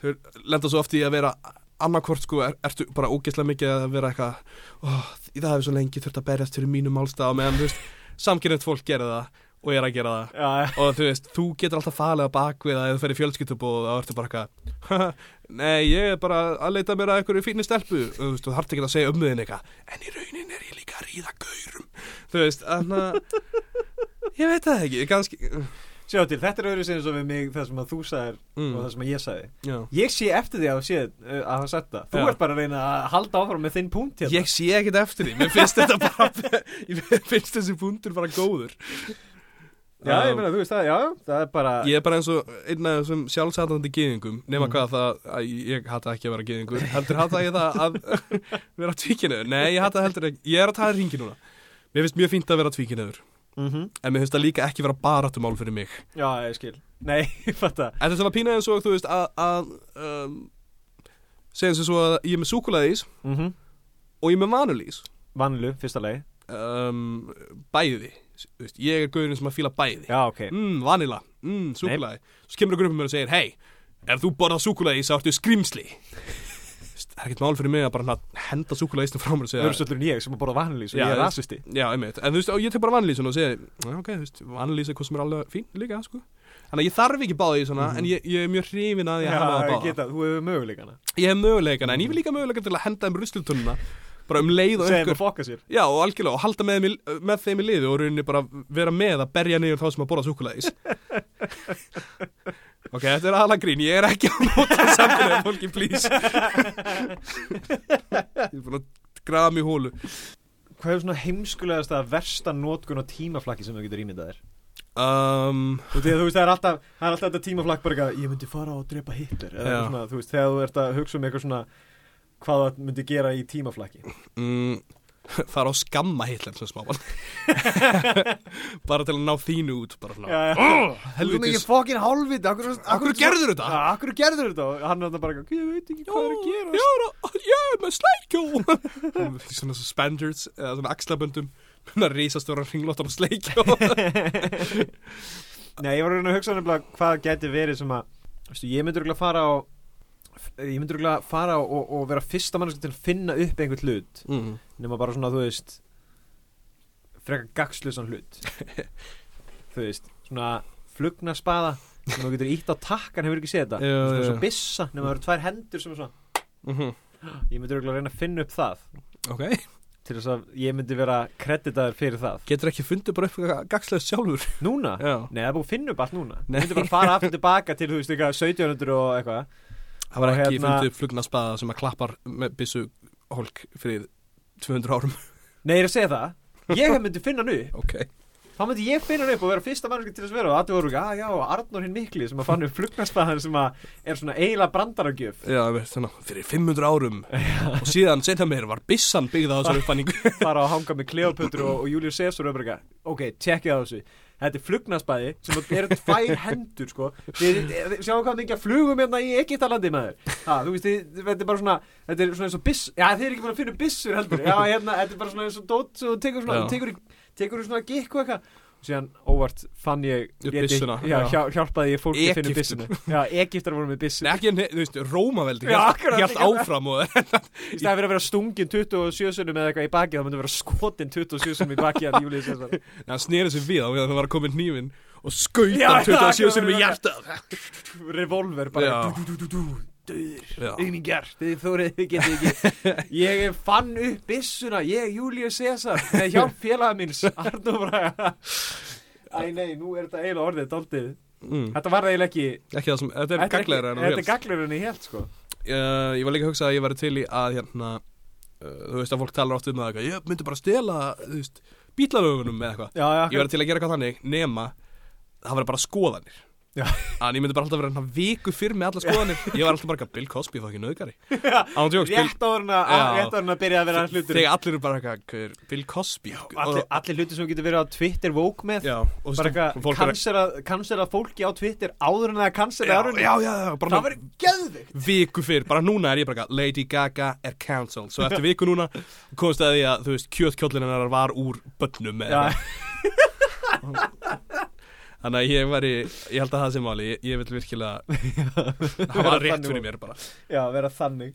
Speaker 2: þau lenda svo oft í að vera annarkvort sko, er, ertu bara ógeðslega mikið að vera eitthvað oh, það hefur svo lengi þurft að berjast fyrir mínum málstað á meðan, þú veist, samkynnet fólk gerir það og er að gera það
Speaker 3: Já,
Speaker 2: og þú veist, þú getur alltaf falega bakvið að ef þú ferir fjölskyldubóð og þá ertu bara eitthvað Nei, ég er bara að leita mér að einhverju fínni stelpu og þú veist, þú þarft ekki að segja um þig eitthvað En í raunin er ég líka að ríða gaurum Þú veist, þannig að Ég veit það ekki, kannski
Speaker 3: sjá til, þetta er öðru sinni svo við mig það sem að þú sagðir
Speaker 2: Mm.
Speaker 3: og það sem að ég sagði
Speaker 2: Já.
Speaker 3: Ég sé eftir því að þú sé uh, að hafa sagt það Þú
Speaker 2: Já.
Speaker 3: ert bara að reyna að halda áfram með þinn punkt hérna
Speaker 2: Ég sé ekkert eftir því, mér finnst þetta bara Mér finnst þessi punktur bara góður Um,
Speaker 3: Já, ég meina, þú veist það, já, það er bara
Speaker 2: Ég er bara eins og einn af þessum sjálfsatandi gýðingum nema hvað það að ég hata ekki að vera gýðingur heldur hata ég það að vera tvíkinuður, nei ég hata heldur ekki ég er að taða ringi núna, mér finnst mjög fínt að vera tvíkinuður
Speaker 3: mm
Speaker 2: en mér finnst það líka ekki vera baratumál fyrir mig
Speaker 3: Já, ég skil Nei, ég fatt að
Speaker 2: en þetta var pína eins og þú veist að, að um, segja eins og svo að ég er með súkulaðís
Speaker 3: mm -hmm.
Speaker 2: og ég er með vanulís
Speaker 3: Vanlu, fyrsta lagi
Speaker 2: um, bæði, Þú veist, ég er gaurin sem að fíla bæði
Speaker 3: Já, ok
Speaker 2: mm, vanila, mm, súkulaði svo kemur einhver upp með mér og segir, hei ef þú borðar súkulaði þá ertu skrimsli það er ekkert mál fyrir mig að bara svona henda súkulaði frá mér og
Speaker 3: Það eru
Speaker 2: segja
Speaker 3: svolítið en ég sem að borða vanlýs og
Speaker 2: Já,
Speaker 3: ég er
Speaker 2: þú veist.
Speaker 3: rasisti
Speaker 2: já, einmitt, en þú veist, og ég tek bara vanlýsun og segja "Já, ok, þú veist, vanlýsa er hvað sem er alveg fín líka, sko Þannig að ég þarf ekki báði í svona, en ég, ég er mjög hrifin að ég hafa að
Speaker 3: Mhm. ég
Speaker 2: báða.
Speaker 3: geta, þú hefur möguleikana
Speaker 2: Ég hef möguleikana, en ég vil líka möguleika til að henda um rusluturnuna, bara um leið og
Speaker 3: Segðu
Speaker 2: einhver
Speaker 3: maður fokka sér
Speaker 2: Já, og algjörlega, og halda með, þeim í- með þeim í liði og rauninni bara vera með að berja niður þá sem að borða súkulæðis Ok, þetta er aðla grín, ég er ekki á móta samkynnaði fólki, please Ég er búin að grafa mig í hólu
Speaker 3: Hvað er svona heimskulegast að versta notkun og tímaflakki sem þú getur ímyndað þér?
Speaker 2: um,
Speaker 3: Þú veist, þú veist, það er alltaf, það er alltaf þetta tímaflakk bara eitthvað, ég myndi fara og drepa Hitler eða
Speaker 2: Já.
Speaker 3: eitthvað svona, þú veist, þegar þú ert að hugsa um eitthvað svona hvað það myndi gera í tímaflakki
Speaker 2: mm, Það er á skamma hitlar sem smáman Bara til að ná þínu út bara svona
Speaker 3: Já, já. Þú
Speaker 2: Helvitis,
Speaker 3: fokkin hálfviti, akkur,
Speaker 2: akkur gerður þetta?
Speaker 3: Akkur gerður þetta og hann er þetta bara eitthvað, ég veit ekki hvað er að gera
Speaker 2: Já, já, ég er með sleikjó Svona suspenders eða svona axlaböndum Svona risastóra ringlóttar og sleikjó
Speaker 3: Nei, ég var að reyna að hugsa nefnilega hvað geti verið sem að veistu, ég myndi rúglega fara á ég myndi rúglega fara á og, og vera fyrsta mannskja til að finna upp einhvern hlut
Speaker 2: mm.
Speaker 3: nema bara svona, þú veist frekar gagslusan hlut þú veist, svona flugna spaða sem þú getur ítt á takkan hefur ekki séð þetta
Speaker 2: Já,
Speaker 3: svona,
Speaker 2: já.
Speaker 3: svona bissa, nema það eru tvær hendur sem er svona,
Speaker 2: Mm
Speaker 3: ég myndi rúglega reyna að finna upp það
Speaker 2: Ok,
Speaker 3: til þess að ég myndi vera kreditaður fyrir það
Speaker 2: getur ekki fundið bara upp gagslega sjálfur
Speaker 3: Núna?
Speaker 2: Já.
Speaker 3: Nei, það er búið að finna upp allt núna Nei.
Speaker 2: Nei.
Speaker 3: Ég myndi bara fara aftur tilbaka til, þú veist, eitthvað 1700 og eitthvað
Speaker 2: Það var
Speaker 3: Og
Speaker 2: ekki
Speaker 3: hérna-
Speaker 2: fundið upp flugna spaða sem að klappar með byssu hólk fyrir 200 árum
Speaker 3: Nei, ég er að segja það Ég myndi finna hann upp
Speaker 2: Ok
Speaker 3: Þá myndi ég finna hann upp og vera fyrsta mannski til þess að vera Og allir voru, að já, Arnór hinn mikli sem að fann upp flugnaspaðan sem að er svona eiginlega brandaragjöf
Speaker 2: Já, ég veist, þannig, fyrir 500 árum Og síðan setja meir var byssan byggð á þessar uppfanningu
Speaker 3: Fara að hanga með Kleopötru og, og Július Sefsur og öfrega Ok, tjekkið á þessu Þetta er flugnaspaði sem að eru tvær hendur sko Þið þið- sjáum hvað mikið að flugum hérna í Egiptalandi maður ha, Þú veist, þið- þetta er bara svona Þetta er svona eins og biss Já, þið er ekki bara að finna upp byssur heldur Já, hérna, þetta er bara svona eins og dót sem Þú tekur svona,
Speaker 2: Já.
Speaker 3: þú tekur, í- tekur í svona gikk og eitthvað og síðan óvart fann ég
Speaker 2: Upp
Speaker 3: ég-
Speaker 2: byssuna,
Speaker 3: Já,
Speaker 2: já.
Speaker 3: hjá, hjálpaði ég fólki að finna upp
Speaker 2: Egyptar.
Speaker 3: byssuna Já, Egiptar voru með byssu
Speaker 2: Nei, ekki, nei, þú veist, Rómaveldi
Speaker 3: Já,
Speaker 2: hélt-
Speaker 3: akkurat,
Speaker 2: hélt
Speaker 3: ekki það.
Speaker 2: áfram og
Speaker 3: Í staðið fyrir að vera stungin 27 sunnum eða eitthvað í baki þá myndi vera skotin 27 sunnum í baki að Július Sefsur
Speaker 2: Nei, hann snýri sig við á við að það var að koma nýfin og skauta
Speaker 3: Já, já,
Speaker 2: 27
Speaker 3: akkurat,
Speaker 2: sinni með
Speaker 3: akkurat.
Speaker 2: hjartað
Speaker 3: revolver bara
Speaker 2: Já.
Speaker 3: dú, dú, dú, dú, dú, dauður
Speaker 2: Já.
Speaker 3: aumingjar, þið þórið, þið getið ekki ég fann upp byssuna ég, Július Cesar, með hjálp félaga minns Arnur Braga Æ nei, nú er þetta eiginlega orðið daldið
Speaker 2: mm.
Speaker 3: Þetta var eiginlega ekki
Speaker 2: Ekki það sem, þetta er
Speaker 3: Þetta er
Speaker 2: gaglegra en
Speaker 3: ekki-
Speaker 2: hún
Speaker 3: Þetta er gaglegur en ég held sko
Speaker 2: uh, ég var líka að hugsa að ég væri til í að hérna, uh, þú veist að fólk talar oft um það eitthvað, ég myndi bara stela þú veist, bílalögunum eða eitthvað
Speaker 3: Já, já,
Speaker 2: ég væri til að gera eitthvað þannig, nema það væri bara skoðanir
Speaker 3: Já.
Speaker 2: en ég myndi bara alltaf vera hérna viku fyrr með alla skoðanir ég var alltaf bara eitthvað, Bill Cosby fokkin auðgari án tjóks, Bill,
Speaker 3: rétt áður en að-
Speaker 2: Já.
Speaker 3: rétt áður en að byrja að vera hlutur
Speaker 2: þegar allir eru bara eitthvað hver, Bill Cosby
Speaker 3: Allir, allir hlutir sem þú getur verið á Twitter woke með
Speaker 2: já, og þú
Speaker 3: bara
Speaker 2: veist,
Speaker 3: eitthvað
Speaker 2: fólk er
Speaker 3: kanserað kansera fólki á Twitter áður en það kanserað
Speaker 2: já,
Speaker 3: árunni
Speaker 2: já, já, já, bara
Speaker 3: það
Speaker 2: svona-
Speaker 3: verður geðvikt
Speaker 2: viku fyrr, bara núna er ég bara eitthvað, Lady Gaga er cancelled Svo eftir viku núna komst að því að þú veist kjötkjóllin hennar var úr bönnum eða
Speaker 3: Já.
Speaker 2: eitthvað. Þannig að ég var í, ég held að það sem máli, ég, ég vil virkilega Það var rétt fyrir mér bara
Speaker 3: já, vera þannig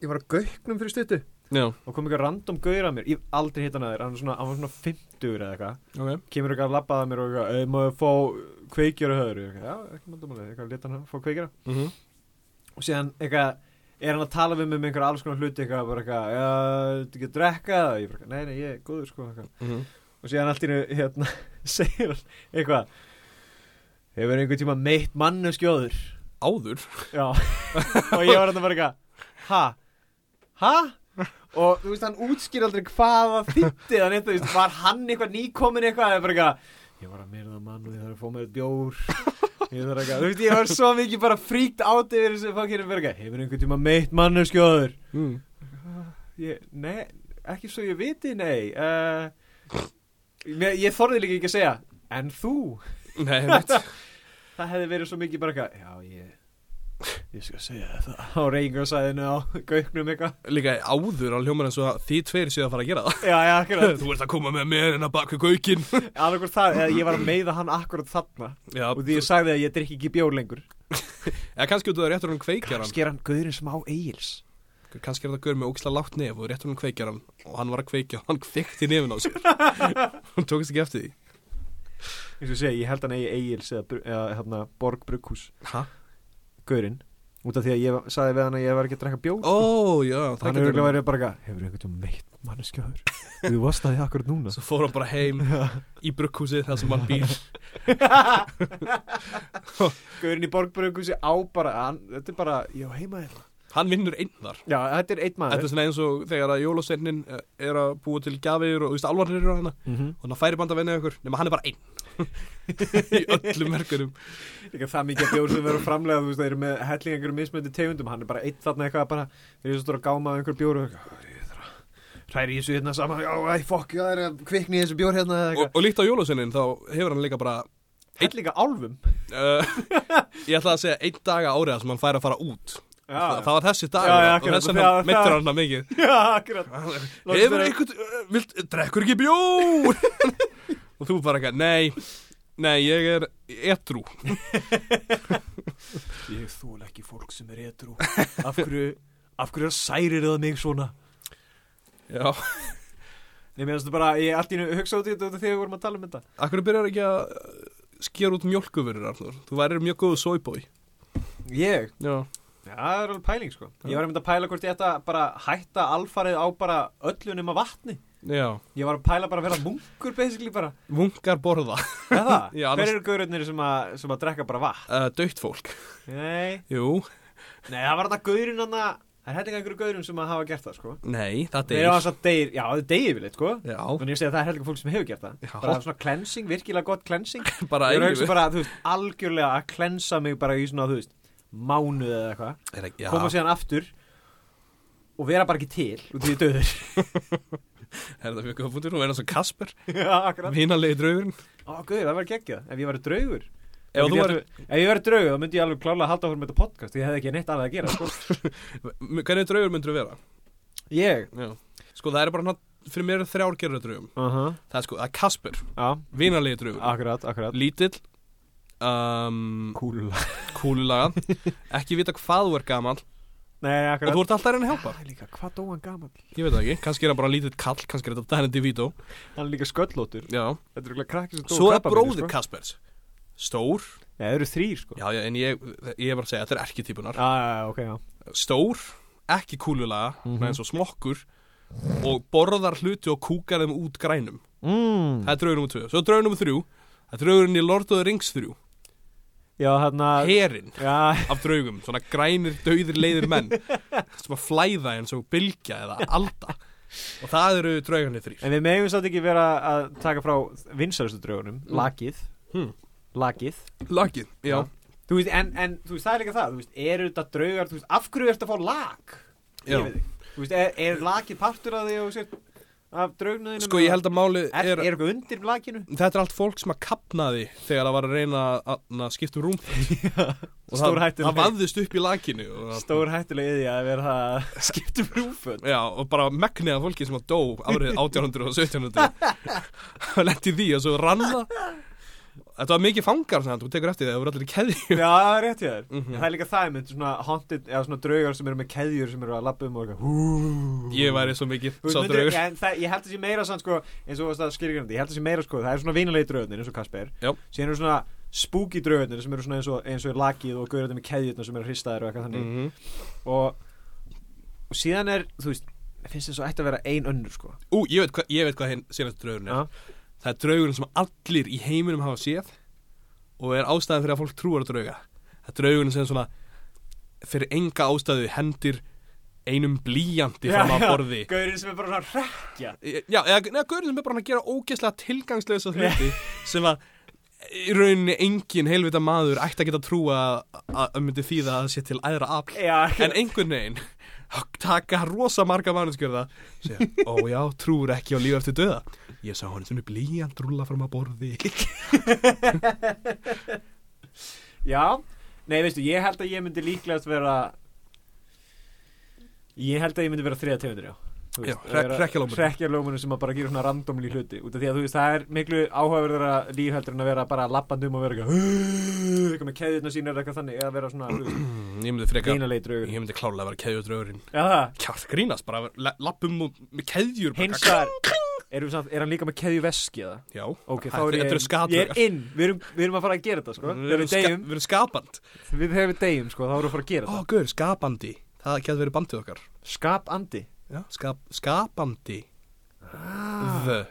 Speaker 3: ég var á gauknum fyrir stuttu
Speaker 2: Já,
Speaker 3: og kom eitthvað random gaur að mér, ég hef aldrei hitt hann að þér hann var svona, hann var svona 50 eða eitthvað
Speaker 2: ok
Speaker 3: kemur eitthvað að labbaða mér og eitthvað, "Ey, má ég fá kveikjur að höfður, já, ekki máldumáli eitthvað leta hann að fá kveikjur
Speaker 2: mm -hmm.
Speaker 3: og síðan eitthvað er hann að tala við mig um einhver alls konar hluti eitthvað bara eitthvað, já, þetta ekki að drekka það?" ég bara, eitthvað, nei, nei, ég er góður sko eitthvað.
Speaker 2: Mm -hmm.
Speaker 3: og síðan allt í hennu hérna, segir hann eitthvað hefur einhver tíma meitt mannu skjóður
Speaker 2: Áður
Speaker 3: já og ég var hérna bara eitthvað ha, ha og þú veist hann útskýr aldrei hvað það þýtti þannig þú veist var hann eitthvað nýkomin eitthvað eða bara eitthvað ég var að myrða mann og ég þarf að fá mér eitt bjór ég þarf eitthvað þú veist ég var svo mikið bara fríkt át yfir þessu fokkinu bara eitthvað hefur einhver tíma meitt mannu skjóður
Speaker 2: mm.
Speaker 3: Ég, nei, ekki svo ég viti, nei uh, mér, Ég þorði líka ekki að segja En þú?
Speaker 2: Nei, mitt
Speaker 3: Það hefði verið svo mikið bara eitthvað Já, ég, ég skal segja þér það Á reyngjósæðinu á gauknum eitthvað
Speaker 2: Líka áður á hljómar eins og að þið tveir séu að fara að gera það
Speaker 3: Já, já, akkurat
Speaker 2: Þú ert að koma með mér en að baka gaukin
Speaker 3: Alveg það, eða ég var að meiða hann akkurat þarna
Speaker 2: Já,
Speaker 3: Og því ég sagði að ég drikki ekki bjór lengur
Speaker 2: eða kannski út af réttur hann kveikjaran
Speaker 3: Kannski er hann gauðurinn sem á eigils
Speaker 2: kannski er þetta gaur með ógislega lágt nef og rétt um hann kveikjar hann og hann var að kveikja og hann kveikti nefin á sér hann tókist ekki eftir því
Speaker 3: Eins og ég segi, ég held hann eigi eigils Eða, Bru- eða hérna, Borg Brugghús
Speaker 2: Hæ?
Speaker 3: Gaurinn Út af því að ég sagði við hann að ég var ekki að drekka bjór
Speaker 2: Ó, já, það
Speaker 3: Þannig að
Speaker 2: getur
Speaker 3: verið bara eitthvað, hefur einhvern veginn meitt manneskjöður Þú varst að því akkur núna
Speaker 2: Svo fór hann bara heim í brugghúsið þar sem hann býr
Speaker 3: Gaurin í borgbröðungum á bara, hann, þetta er bara, já heima þér
Speaker 2: Hann vinnur einn þar
Speaker 3: Já, þetta er einn
Speaker 2: Þetta
Speaker 3: maður
Speaker 2: er svona eins og þegar að jólaseinnin eh, er að búa til gjafir og þú veist alvarnir eru á hana
Speaker 3: mm -hmm.
Speaker 2: og hann færi band að vinna ykkur nema hann er bara einn í öllum verkunum
Speaker 3: Líka það mikið af bjór sem verður framlega, þú veist, það eru með helling einhverjum mismöndi tegundum Hann er bara einn þarna eitthvað, bara, þegar ég svo stóra gáma af einhver bjór og eitthvað, "Æ, ég þarf að Hræri í þessu hérna saman, já, æ, fokk, já, það er að kvikni í þessu bjór hérna eða
Speaker 2: og,
Speaker 3: eitthvað
Speaker 2: og líkt á jólaseinin þá hefur hann líka bara
Speaker 3: Hellinga álfum
Speaker 2: uh, ég ætla að segja einn daga áriða sem hann færi að fara út
Speaker 3: Já,
Speaker 2: það, það var þessi dag
Speaker 3: Já, já,
Speaker 2: og
Speaker 3: akkurat,
Speaker 2: þess
Speaker 3: það-
Speaker 2: vegna
Speaker 3: það-
Speaker 2: mittur hann það mikið
Speaker 3: já, akkurat Láttu
Speaker 2: hefur
Speaker 3: vera-
Speaker 2: einhvern, uh, vilt, drekkur ekki bjór og þú bara eitthvað, nei nei, ég er etrú
Speaker 3: Ég þól ekki fólk sem er edru Af hverju, af hverju særir það mig svona?
Speaker 2: já,
Speaker 3: Nei, mér finnst þetta bara, ég allt í hennu hugsa út í þetta út af því að við vorum að tala um þetta.
Speaker 2: akkur byrjar ekki að uh, skera út mjölkuverur, Arnur þú værir mjög góðu soyboy
Speaker 3: Ég?
Speaker 2: já,
Speaker 3: Já, það er alveg pæling, sko. Ég var einmitt að pæla hvort ég ætta bara hætta alfarið á bara öllu nema vatni.
Speaker 2: já,
Speaker 3: Ég var að pæla bara að vera munkur, basically, bara.
Speaker 2: munkar borða
Speaker 3: Er það?
Speaker 2: Já, annars-
Speaker 3: Hver eru gaururnir sem, að- sem að drekka bara vatn?
Speaker 2: uh, döitt fólk,
Speaker 3: Nei,
Speaker 2: jú,
Speaker 3: nei, það var þetta gaurinn hann að, það er hellinga einhverju gaurum sem að hafa gert það, sko.
Speaker 2: nei, það
Speaker 3: Nei, það var
Speaker 2: deyr
Speaker 3: þess að deyr, já, það deyr yfirleitt, sko.
Speaker 2: já,
Speaker 3: Þannig ég segi að það er hellinga fólk sem hefur gert það.
Speaker 2: Já.
Speaker 3: Bara svona cleansing, virkilega gott cleansing.
Speaker 2: bara
Speaker 3: Ég var að hugsa
Speaker 2: eiginlega
Speaker 3: bara, þú veist, algjörlega að cleansa mig bara í svona, þú veist, mánuð eða eitthvað.
Speaker 2: Er ekki- já,
Speaker 3: koma síðan aftur og vera bara ekki til og því döður
Speaker 2: er það mjög góða punktur, þú er eins og Kasper
Speaker 3: Já, akkurat
Speaker 2: vinalegi draugurinn
Speaker 3: Ó, guður, það var geggjað Ef ég væri draugur
Speaker 2: ef þú
Speaker 3: Ég myndi
Speaker 2: væri
Speaker 3: alveg- Ef ég væri draugur, þá myndi ég alveg klálega að halda áfram með þetta podcast Ég hefði ekki neitt annað að gera sko.
Speaker 2: hvernig draugur myndur vera?
Speaker 3: Ég
Speaker 2: Já. Sko það er bara hann fyrir mér eru þrjár gerður draugum
Speaker 3: uh
Speaker 2: Það er sko, það er Kasper,
Speaker 3: Já,
Speaker 2: vinarlegi draugur
Speaker 3: akkurat, akkurat
Speaker 2: Lítill um,
Speaker 3: Kúla
Speaker 2: Kúlulaga Ekki vita hvað þú er gamal
Speaker 3: Nei,
Speaker 2: Og þú
Speaker 3: akkurat
Speaker 2: ert alltaf að reyna að hjálpa
Speaker 3: Æ, líka, hvað dó hann gaman?
Speaker 2: Ég veit það ekki, kannski er hann bara lítill kall Kannski er þetta Danny DeVito
Speaker 3: Hann er líka sköllótur
Speaker 2: Já.
Speaker 3: Þetta er ekki krakki sem dó
Speaker 2: Svo
Speaker 3: úr
Speaker 2: er
Speaker 3: krabbameini,
Speaker 2: bróðir
Speaker 3: sko.
Speaker 2: Kaspers Stór
Speaker 3: Nei, það eru þrýr sko
Speaker 2: Já, já, en ég, ég var að segja, þetta er ekki típunar
Speaker 3: Já, ok, já
Speaker 2: Stór, ekki kúlulaga, mm
Speaker 3: Mhm.
Speaker 2: eins og smokkur Og borðar hluti og kúkar þeim út grænum
Speaker 3: mm.
Speaker 2: Það er draugur nummer 2 Svo draugur nummer 3 Það er draugurinn í Lord of the Rings 3
Speaker 3: Já, hérna
Speaker 2: Herinn
Speaker 3: Já,
Speaker 2: af draugum Svona grænir, dauðir, leiðir menn Sem að flæða eins og bylgja eða alda Og það eru draugarnir þrýr
Speaker 3: en við megum satt ekki vera að taka frá vinsælustu draugunum
Speaker 2: Mm.
Speaker 3: Lakið
Speaker 2: Hmm.
Speaker 3: Lakið
Speaker 2: Lakið, já,
Speaker 3: Já. Þú veist, en, en þú veist, það er líka það, þú veist, eru þetta draugar, þú veist, af hverju ertu að fá lak?
Speaker 2: já.
Speaker 3: Ég veit ekki. Þú veist, er, er lakið partur af því og sér, af draugnaðinu?
Speaker 2: Sko ég held að málið
Speaker 3: Er,
Speaker 2: er,
Speaker 3: er eitthvað undir lakinu?
Speaker 2: Þetta er allt fólk sem að kapnaði Þegar það var að reyna að, að skipta um rúm Og það,
Speaker 3: Stórhættuleg.
Speaker 2: það vafðist upp í lakinu og, það-
Speaker 3: Stór hættulega yði að vera að skipta um rúföld.
Speaker 2: Já, og bara megnið af fólki sem að dó árið 1800 og 1700 Það lendi því og svo rann það Þetta var mikið fangar sem þú tekur eftir því Það voru allir í keðju
Speaker 3: Já, það er rétt hjá þér.
Speaker 2: Mhm.
Speaker 3: Það er líka það, menn, svona haunted, eða svona draugar sem eru með keðjur sem eru að lappa um og eitthvað. hú.
Speaker 2: Ég væri svo mikið
Speaker 3: Þú veist,
Speaker 2: sá
Speaker 3: myndir-
Speaker 2: draugur
Speaker 3: Já, en það, ég held að sé meira sann sko, eins og það skilgjörnandi, ég held að sé meira sko, það er svona vinalegi draugarnir eins og Kasper
Speaker 2: Já.
Speaker 3: síðan eru svona spooky draugarnir sem eru svona eins og, eins og er lakið og gaurðar með keðjurnar sem eru hristaðir og eitthvað þannig
Speaker 2: Mhm.
Speaker 3: og, og síðan er, þú veist, mér finnst þess að ætti að vera ein önnur sko
Speaker 2: Ú, ég veit, hva, ég veit hvað hinn síðanast draugurinn er
Speaker 3: Já.
Speaker 2: Það er draugurinn sem allir í heiminum hafa séð Og er ástæðan fyrir að fólk trúar að drauga Það er draugurinn sem svona Fyrir enga ástæðu hendir Einum blíjandi fram að borði
Speaker 3: gaurðin sem er bara svona hrekja
Speaker 2: Já, eða, eða gaurinn sem er bara að gera ógeðslega tilgangslega hluti sem að í rauninni engin heilvita maður ætti að geta trúa að- að að myndi þýða að það sé til æðra afl
Speaker 3: Já,
Speaker 2: en einhvern veginn þá taka rosa marga mannskjörða segja, ó já, trúur ekki á líf eftir döða ég sá hann sem er blíjant rúla fram að borði
Speaker 3: já, nei veistu, ég held að ég myndi líklegast vera ég held að ég myndi vera þriða tegundur já Þú
Speaker 2: Já,
Speaker 3: veist,
Speaker 2: hre-
Speaker 3: vera-
Speaker 2: hrekkjalómunum.
Speaker 3: hrekkjalómunum sem að bara gera svona randomli hluti út af því að þú veist það er miklu áhugaverðara líf heldur en að vera bara lappandi um og vera eitthvað eitthvað með keðirna sína eða eitthvað þannig eða vera svona
Speaker 2: Hmm, ég myndi freka,
Speaker 3: vinalegi
Speaker 2: ég
Speaker 3: draugur
Speaker 2: myndi klálega vera keðjudraugurinn
Speaker 3: Já það,
Speaker 2: kjátt grínast, bara la- lappum út með keðjur bara-
Speaker 3: hins vegar erum við samt- er hann líka með keðju veski eða?
Speaker 2: já,
Speaker 3: Ok, þá
Speaker 2: Þetta-
Speaker 3: er
Speaker 2: þetta eru
Speaker 3: ég,
Speaker 2: skatraugar.
Speaker 3: ég er inn, við erum, við erum að fara að gera þetta sko Þegar
Speaker 2: erum
Speaker 3: við
Speaker 2: ska-
Speaker 3: deyjum,
Speaker 2: við erum skapand
Speaker 3: við þegar við deyjum sko, þá erum við að fara að gera
Speaker 2: Ó,
Speaker 3: þetta
Speaker 2: guður, skapandi Það getur verið bandið okkar
Speaker 3: Skap andi
Speaker 2: Já. Skap, Skapandi
Speaker 3: ah.
Speaker 2: The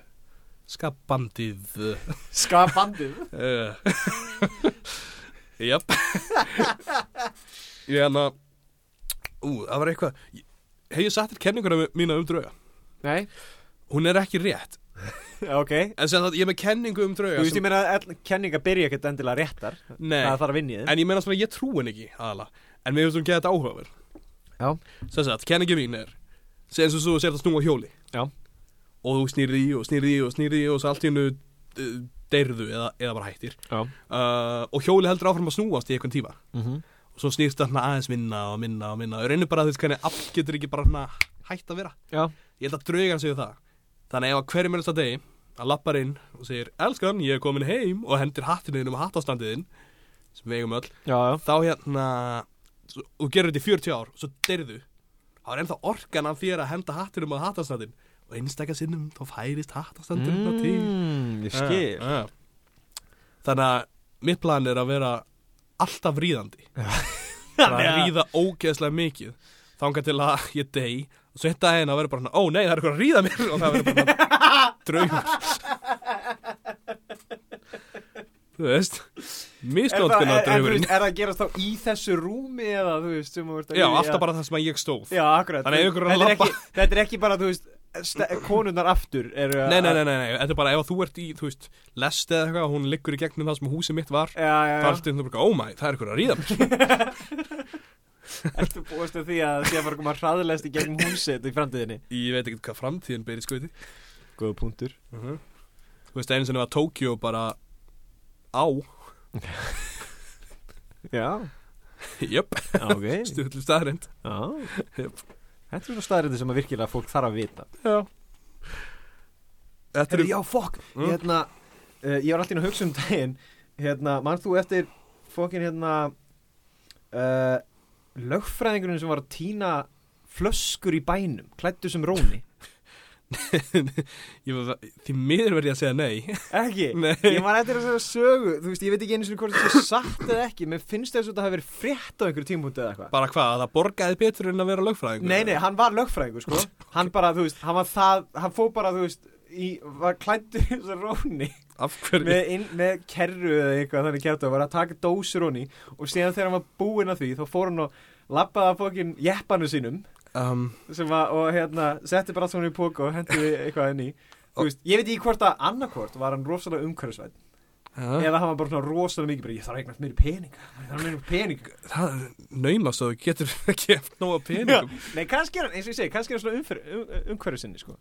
Speaker 2: Skapandi The
Speaker 3: Skap andi
Speaker 2: uh. Jep Ég hann að Ú, það var eitthvað Ég- Hef ég sagt þér kenninguna mi- mína um drauga
Speaker 3: Nei,
Speaker 2: Hún er ekki rétt
Speaker 3: ok
Speaker 2: En sem það, ég er með kenningu um drauga
Speaker 3: Þú veist,
Speaker 2: sem,
Speaker 3: ég meina að all- kenningar byrja ekkert endilega réttar
Speaker 2: Nei,
Speaker 3: Það þarf að vinni þið
Speaker 2: en ég meina svona ég trú henni ekki aðala En mér finnst hún geða þetta áhugaverð
Speaker 3: Já.
Speaker 2: Sem sagt, kenningi mín er sem eins og svo sér þetta snúa á hjóli
Speaker 3: Já.
Speaker 2: Og þú snýrði í og snýrði í og snýrði í og svo allt í hennu deyrðu eða, eða bara hættir
Speaker 3: Já
Speaker 2: uh, Og hjóli heldur áfram að snúast í eitthvað tíma
Speaker 3: mm -hmm.
Speaker 2: Og svo snýrst það svona aðeins minna og minna og minna Og reynir bara að þess hvernig afl getur ekki bara svona hætt að vera
Speaker 3: Já
Speaker 2: Ég held að draugan segja það Þannig ef að hverjum er þetta degi að lappar inn og segir Elskan, ég er komin heim og hendir hattinu þinn um hattastandiðin sem við eigum öll
Speaker 3: Já, já
Speaker 2: þá hérna svo- þú gerir þetta í 40 ár og svo deyrðu þá er ennþá orkan af þér að henda hattinum að hattastandin og einstakka sinnum þá færist hattastandurinn mm. til
Speaker 3: ég skil
Speaker 2: Ja, ja. þannig að mitt plan er að vera alltaf ríðandi bara að ríða ógeðslega mikið þanga til að ég dey og svo hitt að henni að vera bara svona, ó nei það er eitthvað að ríða mér og það verður bara svona draugur þú veist
Speaker 3: Er það,
Speaker 2: misnótkunna
Speaker 3: er, er, þú veist, er það að gerast þá í þessu rúmi eða þú veist sem þú veist
Speaker 2: Já, alltaf bara það sem að ég stóð
Speaker 3: Já, akkurat
Speaker 2: Þannig að ef ykkur er að
Speaker 3: Þetta
Speaker 2: labba-
Speaker 3: ekki, Þetta er ekki bara, þú veist, ste- konurnar aftur eru að-
Speaker 2: Nei, nei, nei, nei, nei, þetta er bara ef að þú ert í, þú veist, lest eða eitthvað og hún liggur í gegnum það sem húsið mitt var
Speaker 3: Já, já,
Speaker 2: þá
Speaker 3: já
Speaker 2: ertu þetta bara, oh my, það er eitthvað að ríða mér
Speaker 3: Ertu búist að því að því að fara að koma hraðilegst í gegnum húsið í framtíðinni
Speaker 2: Ég veit ekkert hvað framtíðin ber í skauti
Speaker 3: Góða punktur
Speaker 2: Þú veist, einu sinni var Tokyo bara á,
Speaker 3: Já,
Speaker 2: jöp,
Speaker 3: ok Já,
Speaker 2: stjórnlu staðrind Jöp.
Speaker 3: þetta er svona staðrindi sem að virkilega fólk þarf að vita
Speaker 2: Já Þetta er,
Speaker 3: Heru, Já, fokk,
Speaker 2: Mm.
Speaker 3: hérna uh, Ég var alltaf inn að hugsa um daginn Hérna, mann þú eftir fokkin hérna uh, Lögfræðingurinn sem var að týna flöskur í bænum Klættu sem róni
Speaker 2: Ég var- Því miður verði ég að segja nei
Speaker 3: Ekki?
Speaker 2: Nei.
Speaker 3: Ég var eftir þessari sögu, þú veist, ég veit ekki einu sinni hvort þetta er satt eða ekki, menn finnst þess að þetta hafi verið frétt á einhverju tímpunkti eða eitthvað.
Speaker 2: Bara hvað, að það borgaði betur en að vera lögfræðingur
Speaker 3: Nei, nei, hann var lögfræðingur, sko. Hann bara, þú veist, hann var það, hann fó bara, þú veist, í, var klæntur í þessu róni
Speaker 2: Af hverju?
Speaker 3: með, inn, með kerru eða eitthvað þannig kert og var að taka dósur honni og síðan þegar hann var búinn að því þá fór hann og lappaði að fókin jeppanu sínum
Speaker 2: um,
Speaker 3: sem var, og hérna, setti bara allt svona í póka og hendiði eitthvað inn í. Þú veist, ég veit ekki hvort að annarkvort var hann rosalega umhverfisvætt
Speaker 2: ja,
Speaker 3: eða hann var bara svona rosalega mikið bara, ég þarf að eignast meiri peninga, ég þarf meiri peninga
Speaker 2: Það naumast að þú getur ekki eftir nóga peningum
Speaker 3: Nei, kannski er hann, eins og ég segi, kannski er hann svona umfyr, um, umhverfisinni, sko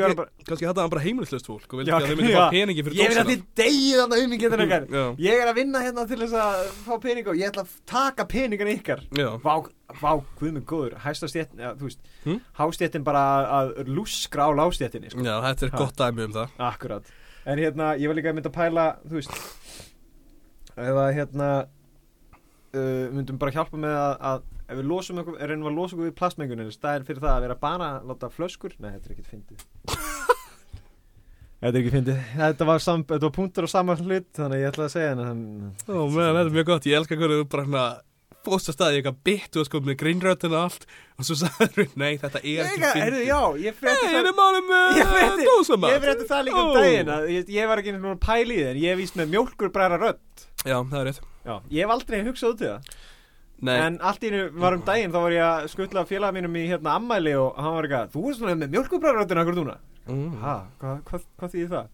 Speaker 2: Kannski-
Speaker 3: var hann bara
Speaker 2: Kannski þetta var bara heimilislaust fólk og vildi
Speaker 3: Já,
Speaker 2: að þau myndi
Speaker 3: já.
Speaker 2: fá peningi fyrir
Speaker 3: Ég vil að þið degið þarna umingið þennan ykkar
Speaker 2: Já,
Speaker 3: Ég er að vinna hérna til þess að fá peninga og ég ætla að taka peningan ykkar
Speaker 2: já
Speaker 3: Vá, vá, guð mig góður, hæsta stjéttin, eða, þú veist
Speaker 2: Hm?
Speaker 3: Hástjéttin bara að að lúskra á lástjéttinni, sko
Speaker 2: Já, þetta er
Speaker 3: Ha.
Speaker 2: gott dæmi um það
Speaker 3: Akkurat En hérna, ég var líka að mynda að pæla, þú veist Ef að hérna uh, Myndum bara hjálpa með að, að Ef við losum okkur, reynum að losa okkur við plastmengunin Stæðin fyrir það að vera bana að láta flöskur Nei, þetta er ekkert fyndið Þetta er ekki fyndið Þetta var, sam, þetta var punktur á sama hlut Þannig að ég ætla að segja henni þann-
Speaker 2: Ó, meðan, þetta er mjög gott, ég elska hvernig þú bara hérna fóst að staði eitthvað bytt og sko með grínrötin og allt og svo sagður þú, nei, þetta er
Speaker 3: Ég
Speaker 2: ekki
Speaker 3: er
Speaker 2: fyndið."
Speaker 3: ekki Já, ég frétti
Speaker 2: Nei,
Speaker 3: það
Speaker 2: þetta er málum
Speaker 3: Ég
Speaker 2: með
Speaker 3: frétti-
Speaker 2: dósamat
Speaker 3: Ég frétti það líka um
Speaker 2: Ó.
Speaker 3: daginn að ég, ég var ekki einhvern veginn að pæla í þeir Ég er víst með mjólkur bræra rödd
Speaker 2: Já, það er rétt
Speaker 3: Já, ég hef aldrei hugsað út í það
Speaker 2: Nei,
Speaker 3: En allt í einu var um daginn þá var ég að skutla félaga mínum í hérna ammæli og hann var eitthvað, þú er svona með mjölkubræðröndin akkur núna.
Speaker 2: mm.
Speaker 3: Ha, hvað, hvað, hvað þýðir það?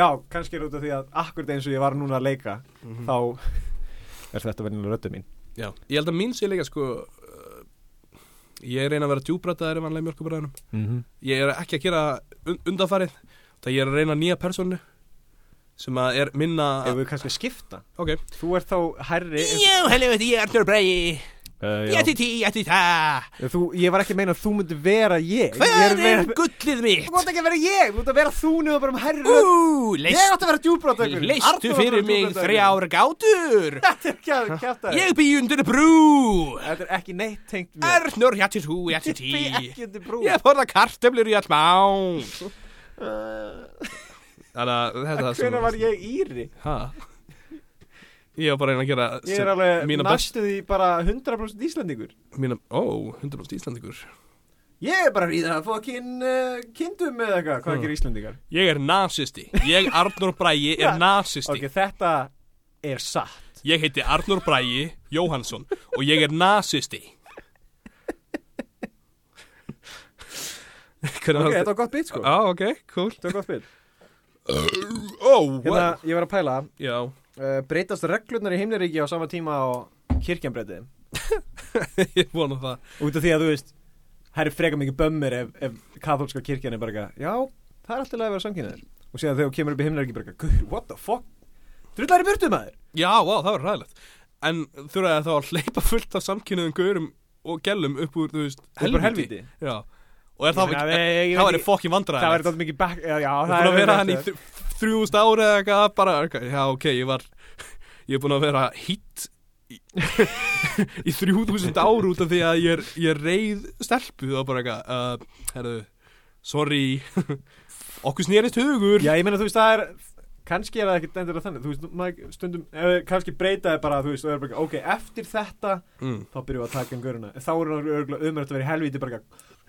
Speaker 3: Já, kannski er út af því að akkur eins og ég var núna að leika,
Speaker 2: Mhm.
Speaker 3: þá er þetta verðinlega röddum mín.
Speaker 2: Já, ég held að mín sé líka sko uh, Ég reyna að vera djúbrataðar í vanlega mjölkubræðunum
Speaker 3: Mm -hmm.
Speaker 2: Ég er ekki að gera un undanfarið Það ég er að reyna nýja persónu Sem að er minna
Speaker 3: Ef við kannski skipta.
Speaker 2: Ok
Speaker 3: Þú ert þá herri.
Speaker 2: helviti, ég er Arnur Bregi
Speaker 3: Uh,
Speaker 2: tí, ég ætti það
Speaker 3: þú, ég var ekki að meina að þú myndi vera ég. Ég að meina-
Speaker 2: gullið
Speaker 3: Þú mátt ekki að vera ég, þú mátt að vera þú nefnum bara um herri rödd.
Speaker 2: Ú,
Speaker 3: Ég átti að vera djúbráðdökkur.
Speaker 2: gátur
Speaker 3: Þetta er ekki að kjæfta þér.
Speaker 2: bý undir brú
Speaker 3: Þetta er ekki neitt tengt mér.
Speaker 2: Arnur, ég ætti þú, ég ætti
Speaker 3: Ég bý ekki undir brú
Speaker 2: borða kartöflur í all mán
Speaker 3: uh,
Speaker 2: Þannig að þetta er það sem-
Speaker 3: Hvernig var ég íri?
Speaker 2: Ha? Ég var bara að reyna að
Speaker 3: Ég er
Speaker 2: gera
Speaker 3: alveg
Speaker 2: mína best
Speaker 3: næstu því bara 100% Íslandingur
Speaker 2: mína, Ó, 100% Íslandingur
Speaker 3: Ég er bara að ríða að fá kyn, uh, kindum eða eitthvað Hvað
Speaker 2: Mm.
Speaker 3: gerir Íslandingar?
Speaker 2: Ég er nazisti Ég, Arnur Brægi,
Speaker 3: Ja.
Speaker 2: er nazisti
Speaker 3: Ok, þetta er satt
Speaker 2: Ég heiti Arnur Brægi Jóhansson og ég er nazisti
Speaker 3: Ok, þetta var gott bit sko
Speaker 2: Á, ok, cool
Speaker 3: Þetta var gott bit
Speaker 2: Ó,
Speaker 3: Hérna, ég var að pæla
Speaker 2: Já,
Speaker 3: uh, Breytast reglurnar í heimliríki á sama tíma og kirkjan breytiði
Speaker 2: ég vona það
Speaker 3: Út af því að þú veist Það er freka mikið bömmir ef, ef katholska kirkjan er bara eitthvað, Já, það er alltaf að vera samkynnaður Og síðan þegar þú kemur upp í heimliríki bara eitthvað, Guð, what the fuck? Drullar í burtu maður
Speaker 2: Já, vá, það var ræðilegt En þurfaði þá að hleypa fullt af samkynniðum gaurum og gellum upp úr, þú veist,
Speaker 3: Upp úr helvíti.
Speaker 2: Já, og er það
Speaker 3: Ég
Speaker 2: ekki,
Speaker 3: meina,
Speaker 2: það
Speaker 3: ég- ég veit
Speaker 2: væri
Speaker 3: ekki-
Speaker 2: fokkin vandræðilegt
Speaker 3: Það verður alltaf mikið back Já, já
Speaker 2: Ég er búin að vera hann í
Speaker 3: verður-
Speaker 2: þrjúst ári eða eitthvað bara, eitthvað, já ok, ég var ég er búin að vera hitt í, í þrjúðúsund ár út af því að ég er, ég er reið stelpu og bara eitthvað, uh, herðu sorry okkur snýrist hugur
Speaker 3: Já, ég meina, þú veist, það er kannski er það ekkert endur að þannig, þú veist, maður stundum eh, kannski breytaði bara, þú veist, og er bara ok, eftir þetta,
Speaker 2: mm.
Speaker 3: þá byrjum við að taka um göruna þá er það örgulega ömurlegt að vera í helvíti bara,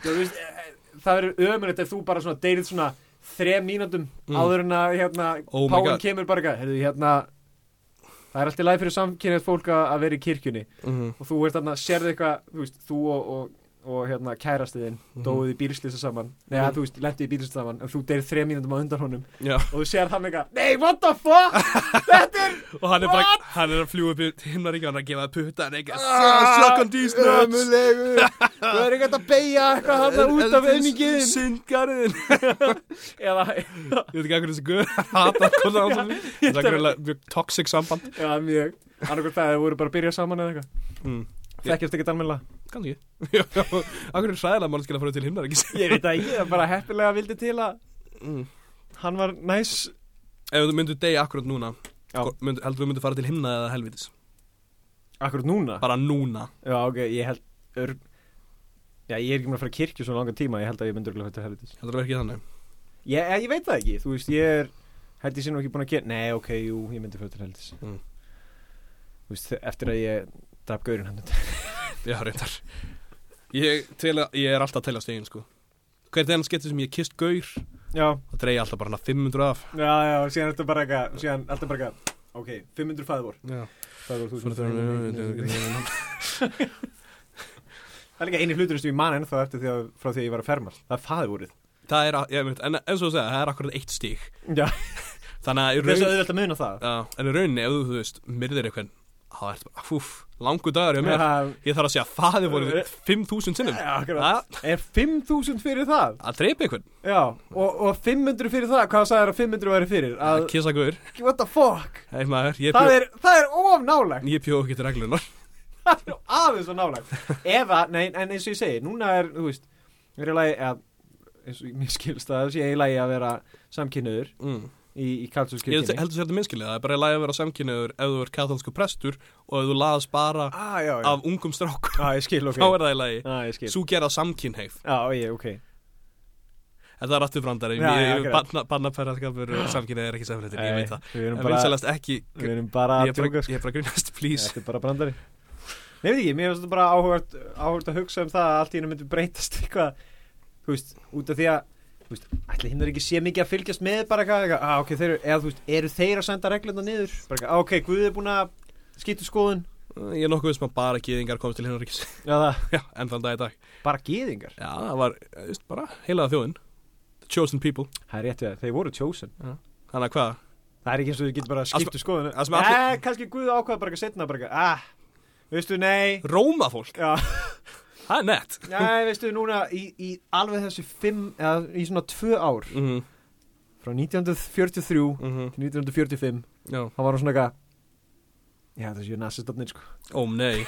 Speaker 3: þú veist, eh, það verður ömurlegt ef þú bara svona deyrið svona þrem mínútum
Speaker 2: Mm.
Speaker 3: áður en að hérna,
Speaker 2: Oh my
Speaker 3: Páin
Speaker 2: God.
Speaker 3: kemur bara, eitthvað, heyrðu, hérna það er alltaf læg fyrir samkynnið fólk að að vera í kirkjunni
Speaker 2: Mm.
Speaker 3: og þú ert þarna, sérðu eitthvað, þú veist, þú og, og, og hérna kærastiðin
Speaker 2: Mhm.
Speaker 3: dóið í bílslýsa saman, neða,
Speaker 2: Mhm.
Speaker 3: þú veist, lendi í bílslýsa saman en þú deyrið þrem mínútum á undan honum
Speaker 2: já,
Speaker 3: og þú sér hann eitthvað Nei, what the fuck Þetta er
Speaker 2: og hann er bara hann er að fljúa upp í himnaríkja hann er að gefa putta hann er ekki að
Speaker 3: Ah,
Speaker 2: slökkum dísnöts
Speaker 3: Ömurlegur Þú er ekkert að beigja eitthvað hann út af einingin
Speaker 2: syndgarðin
Speaker 3: Eða
Speaker 2: ég veit ekki hvað þessi gaur hata hvað það á þessu það er greinilega mjög toxic samband
Speaker 3: Já, mjög Annarkur það, þau voru bara að byrja saman eða eitthvað
Speaker 2: mm.
Speaker 3: Þekkjast ekkert almennilega
Speaker 2: Kanski Akkur er sæðilega mannskil að fara til himnar ekki
Speaker 3: Ég veit að ég bara heppilega vildi til að
Speaker 2: mm.
Speaker 3: Hann var næs
Speaker 2: Ef þú myndu degja akkurat núna
Speaker 3: Já.
Speaker 2: hvort myndu, Heldur þú myndu fara til himna eða helvitis
Speaker 3: Akkur núna
Speaker 2: Bara núna
Speaker 3: Já, ok, ég held ör... Já, ég er ekki með að fara að kirkju svona langan tíma Ég held að ég myndi örugglega fara til helvitis
Speaker 2: Heldur það verið ekki þannig?
Speaker 3: ég, ég, ég veit það ekki, þú veist, ég er Held ég sinni ekki búin að gera, nei, ok, jú, ég myndi fyrir til helvitis
Speaker 2: Mm.
Speaker 3: Þú veist, eftir að ég draf gaurinn hann um
Speaker 2: Já, reyndar Ég, tel, að- ég er alltaf að telja stegin, sko Hvert enn skipti sem ég kist gaur
Speaker 3: Já,
Speaker 2: Það dreig alltaf bara hana 500 af
Speaker 3: já, já, síðan alltaf bara eitthvað Síðan alltaf bara eitthvað, ok, 500 fæðvor
Speaker 2: Já
Speaker 3: Fæðvor, þú veist
Speaker 2: Ég
Speaker 3: Það er líka eini hluturinn sem ég man ennþá eftir því að, frá því að ég var að fermast Það er fæðvorið
Speaker 2: Það er, að- ég veit, en eins og að segja, það er akkurat eitt stík
Speaker 3: Já,
Speaker 2: Þannig að í
Speaker 3: þess að
Speaker 2: raun,
Speaker 3: auðvitað að muna það
Speaker 2: Já, en í rauninni, ef þú, þú veist, myrðir eitthvað Það ert bara, fúf, langur dagur hjá mér
Speaker 3: Já,
Speaker 2: Ég þarf að segja, faði voru 5.000 sinnum
Speaker 3: já, akkurat.
Speaker 2: Það
Speaker 3: Er 5.000 fyrir það?
Speaker 2: að dreipa eitthvað,
Speaker 3: Já, og, og 500 fyrir það, hvað sagði þér að 500 væri fyrir?
Speaker 2: að
Speaker 3: Að,
Speaker 2: kissa gaur
Speaker 3: what the fuck?
Speaker 2: Hei maður, ég
Speaker 3: Það
Speaker 2: bjó,
Speaker 3: er, það er of nálægt,
Speaker 2: ég bjó ekki til reglunar
Speaker 3: það er nú aðeins of nálægt Eða, nei, en eins og ég segi, núna er, þú veist, er í lagi að, eins og mér skilst að það sé í lagi að vera samkynniður
Speaker 2: mm.
Speaker 3: í, í
Speaker 2: Ég heldur
Speaker 3: kalsúskirkjunni
Speaker 2: heldur sér þetta minnskilið, það er bara í lagi að vera samkynniður ef þú er katholsku prestur og ef þú laðast bara
Speaker 3: Ah, já, já,
Speaker 2: af ungum strákum
Speaker 3: ah, ég skil, ok
Speaker 2: þá er það í lagi,
Speaker 3: Já, ég skil Já,
Speaker 2: svo gera samkynneið
Speaker 3: ég, ok
Speaker 2: en það er afturbrandari,
Speaker 3: Já, já, akkurat.
Speaker 2: bannaperraskapur og samkynneið er ekki samfélagin, ég veit það
Speaker 3: Nei, Eh, Við
Speaker 2: en
Speaker 3: erum bara,
Speaker 2: vinsælast ekki
Speaker 3: við
Speaker 2: ég
Speaker 3: erum bara
Speaker 2: er
Speaker 3: að
Speaker 2: bara,
Speaker 3: tjóka,
Speaker 2: ég er bara að grínast, please
Speaker 3: Þetta er bara brandari Nei, veit ekki, mér finnst þetta bara áhugart, áhugart að hugsa um það að allt í hennu myndi breytast eitthvað Þú veist, út af því að Þú veist, ætli hinn er ekki sé mikið að fylgjast með bara eitthvað, eitthvað ah, ok, þeir, eru- eða þú veist, eru þeir að senda regluna niður? Bara eitthvað, ah, ok, Guð er búin að skýta skoðun
Speaker 2: ég er nokkuð veist maður bara gýðingar komst til hennar ekki
Speaker 3: Já, það,
Speaker 2: enn þann dag í dag
Speaker 3: bara gýðingar
Speaker 2: já, það var, eh, þú veist, bara heilaða þjóðin the chosen people,
Speaker 3: Það er rétt við það, þeir voru chosen
Speaker 2: þannig að hvað
Speaker 3: Það er ekki eins og þau getur bara að
Speaker 2: Allt-
Speaker 3: skipta skoðun
Speaker 2: allt sem
Speaker 3: Nei,
Speaker 2: allir-
Speaker 3: kannski Guð ákvaða bara eitthvað setna bara eitthvað, ah, veistu, nei
Speaker 2: Róma fólk,
Speaker 3: Já,
Speaker 2: það er nett
Speaker 3: nei, veistu, núna í, í alveg þessu fimm, eða í svona tvö ár
Speaker 2: mhm,
Speaker 3: frá 1943
Speaker 2: mhm,
Speaker 3: til 1945
Speaker 2: já,
Speaker 3: þá var hún svona eitthvað já það séu nasistofnir sko
Speaker 2: ó nei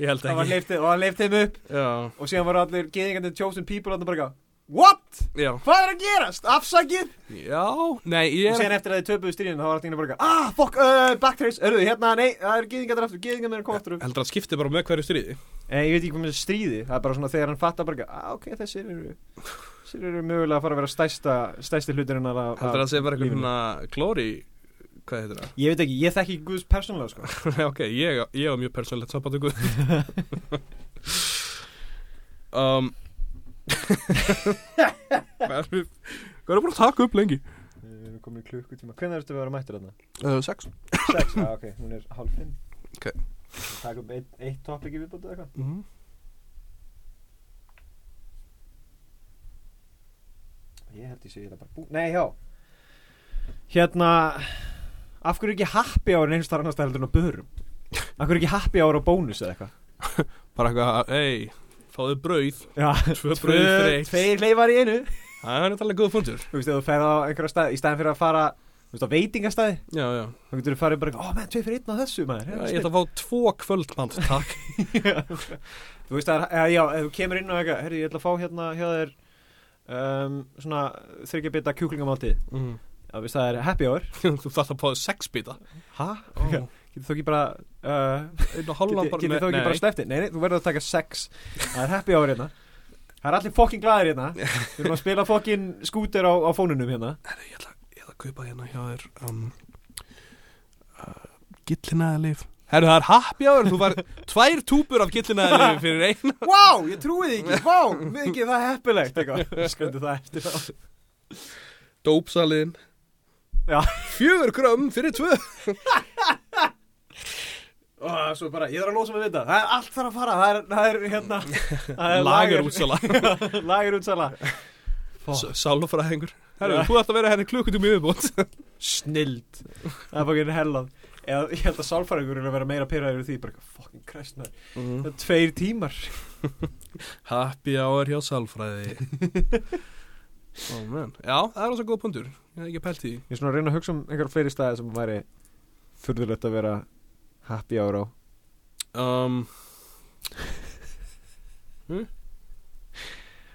Speaker 2: ég held
Speaker 3: það var
Speaker 2: ekki
Speaker 3: leiftið og það leiftið þeim upp
Speaker 2: já,
Speaker 3: og síðan voru allir geðingarnir chosen people og það bara eitthvað what?
Speaker 2: já,
Speaker 3: hvað er að gerast? afsakið
Speaker 2: já, nei ég
Speaker 3: og
Speaker 2: er
Speaker 3: síðan eftir að þið töpuðu stríðinu þá var allir bara eitthvað ah fuck uh, backtrace eru þið hérna nei það eru geðingarnir aftur geðingarnir er að koma aftur upp
Speaker 2: heldur að skipti bara með hverju stríði
Speaker 3: en ég veit ekki hvað með stríði það er bara svona þegar hann fattar bara eitthvað ah ok þessir eru þessir eru mögulega að fara að vera stæsta stæsti hluturinn að,
Speaker 2: heldur að það sé bara
Speaker 3: lífinu.
Speaker 2: eitthvað svona glóri hvað heitir það
Speaker 3: ég veit ekki ég þekki ekki Guðs persónulega sko
Speaker 2: Nei, ok, ég, ég var mjög persónlegt samband við Guð um, Hvað erum við Hvað erum við búin að taka upp lengi?
Speaker 3: við erum komin í klukkutíma hvernig ertu að vera mættur þarna
Speaker 2: Uh, sex
Speaker 3: Sex, já ok, hún er hálf fimm
Speaker 2: Ok.
Speaker 3: Takk upp eitt, eitt topic í viðbútið eitthvað
Speaker 2: mm.
Speaker 3: Ég held ég sé þetta bara bú Nei, já Hérna Af hverju er ekki happy hour en einhvers þar annars það heldur en á börum? Af hverju er ekki happy hour og bónus eða eitthvað?
Speaker 2: Bara eitthvað, ei, fáðu brauð
Speaker 3: Já,
Speaker 2: Tvö brauð fyrir
Speaker 3: tvö,
Speaker 2: eitt
Speaker 3: tveir leifar í einu
Speaker 2: Það er náttúrulega góð fundur
Speaker 3: Þú veist, ef þú ferð á einhverja stað Í staðin fyrir að fara, þú veist, á veitingastæði
Speaker 2: Já, já,
Speaker 3: Þá getur þú farið bara, ó, menn, tveir fyrir einn á þessu, maður
Speaker 2: ég ætla að fá tvo kvöldmant, takk
Speaker 3: Þú veist að, já, já, ef þú kemur inn og eitthvað, herri, ég ætla að fá hérna hjá þér um, svona þryggjabita kjúklingamáltið,
Speaker 2: mm.
Speaker 3: já, þú veist það er happy hour
Speaker 2: Þú þarf að fáðu sex bita
Speaker 3: Hæ?
Speaker 2: oh.
Speaker 3: Já. Getur þú ekki bara, uh,
Speaker 2: Einn og
Speaker 3: getur,
Speaker 2: hálfan bara
Speaker 3: getur þú ekki
Speaker 2: nei.
Speaker 3: bara slefti? Nei, nei, þú verður að taka sex, það er happy hour hérna Það er allir fokkin glæðir hérna, við erum að spila fokkin skúter á, á fónunum hérna
Speaker 2: Herri, Ég ætla, ég ætla að kaupa hérna hjá þér um, uh, Gillinæðalif Herru, það er happy hour Þú var tvær túpur af gillinæðalif fyrir eina
Speaker 3: Vá, ég trúið ekki, vá, mikið það heppilegt eitthvað Sköndu það eftir á
Speaker 2: Dópsalinn
Speaker 3: Já.
Speaker 2: Fjögur grömm fyrir tvö
Speaker 3: Og svo bara, ég þarf að losa mig við þetta, það er allt þarf að fara, það er, það er hérna það er
Speaker 2: Lager útsala
Speaker 3: Lager útsala
Speaker 2: Sálfræðingur Herru,
Speaker 3: Já.
Speaker 2: þú ætti að vera henni klukkutum í viðbútt
Speaker 3: Snild Það er fokkin hellað Eða, Ég held að sálfæringur er að vera meira pyrraður því bara fokkin krestnar
Speaker 2: Mm.
Speaker 3: Það er tveir tímar
Speaker 2: Happy hour hjá sálfræði Ó, menn Oh, Já, það er alveg góð pundur Ég hef ekki pælt í því.
Speaker 3: Ég er svona að reyna að hugsa um einhverja fleiri staði sem væri furðulegt að vera happy hour á
Speaker 2: um,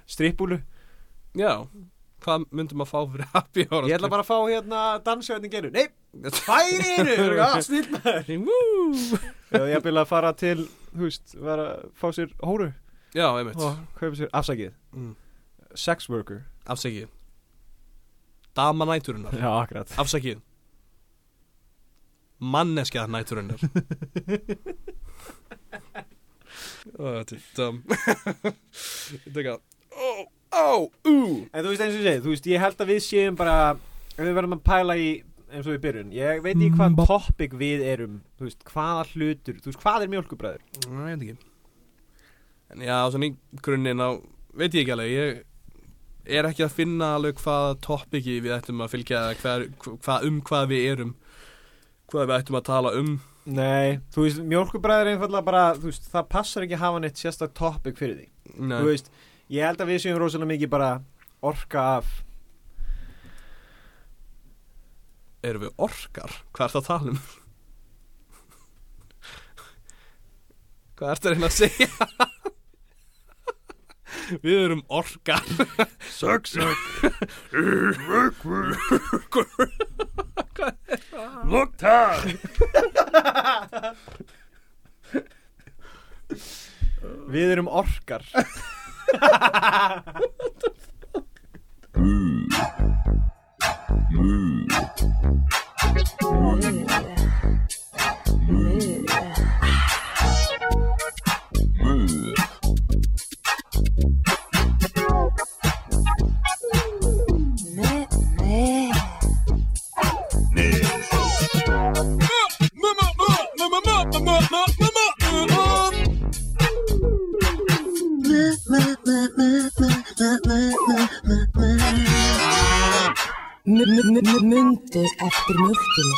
Speaker 3: Strippúlu
Speaker 2: Já Hvað myndum að fá fyrir happy hour
Speaker 3: Ég ætla bara að fá hérna dansjóðin geru Nei,
Speaker 2: bara
Speaker 3: færi einu Snild maður
Speaker 2: Woo
Speaker 3: Eða ég ætla að fara til, þú veist, vera, fá sér hóru
Speaker 2: Já, einmitt
Speaker 3: og kaupa sér afsakið
Speaker 2: mm.
Speaker 3: sex worker
Speaker 2: Afsakið Dama næturinnar
Speaker 3: já, akkurat
Speaker 2: Afsakið Manneskja næturinnar Ó, Þetta er dum Þetta er gæt Ó, á, ú
Speaker 3: en þú veist eins og ég segi, þú veist, ég held að við séum bara ef við verðum að pæla í eins og við byrjun, ég veit ekki hvað
Speaker 2: Mm,
Speaker 3: topic við erum, þú veist, hvaða hlutur þú veist, hvað er mjölkubræður?
Speaker 2: Næ, ég veit ekki En já, svona í grunninn á Veit ég ekki alveg, ég er ekki að finna alveg hvaða toppiki við ættum að fylgja eða hver, hva, um hvað við erum hvað við ættum að tala um
Speaker 3: Nei, þú veist, mjölkubræður er einfallega bara, þú veist, það passar ekki að hafa neitt sérstak topic fyrir því,
Speaker 2: Nei.
Speaker 3: þú veist ég held að við séum rosalega mikið bara orka af,
Speaker 2: Erum við orkar? Hvað ert að tala um? Hvað ert að reyna að segja? Við erum orkar Sök, sök
Speaker 4: Moktar!
Speaker 3: við erum orkar
Speaker 1: Mu- mu- mu- mu- Mundu eftir mjólkinni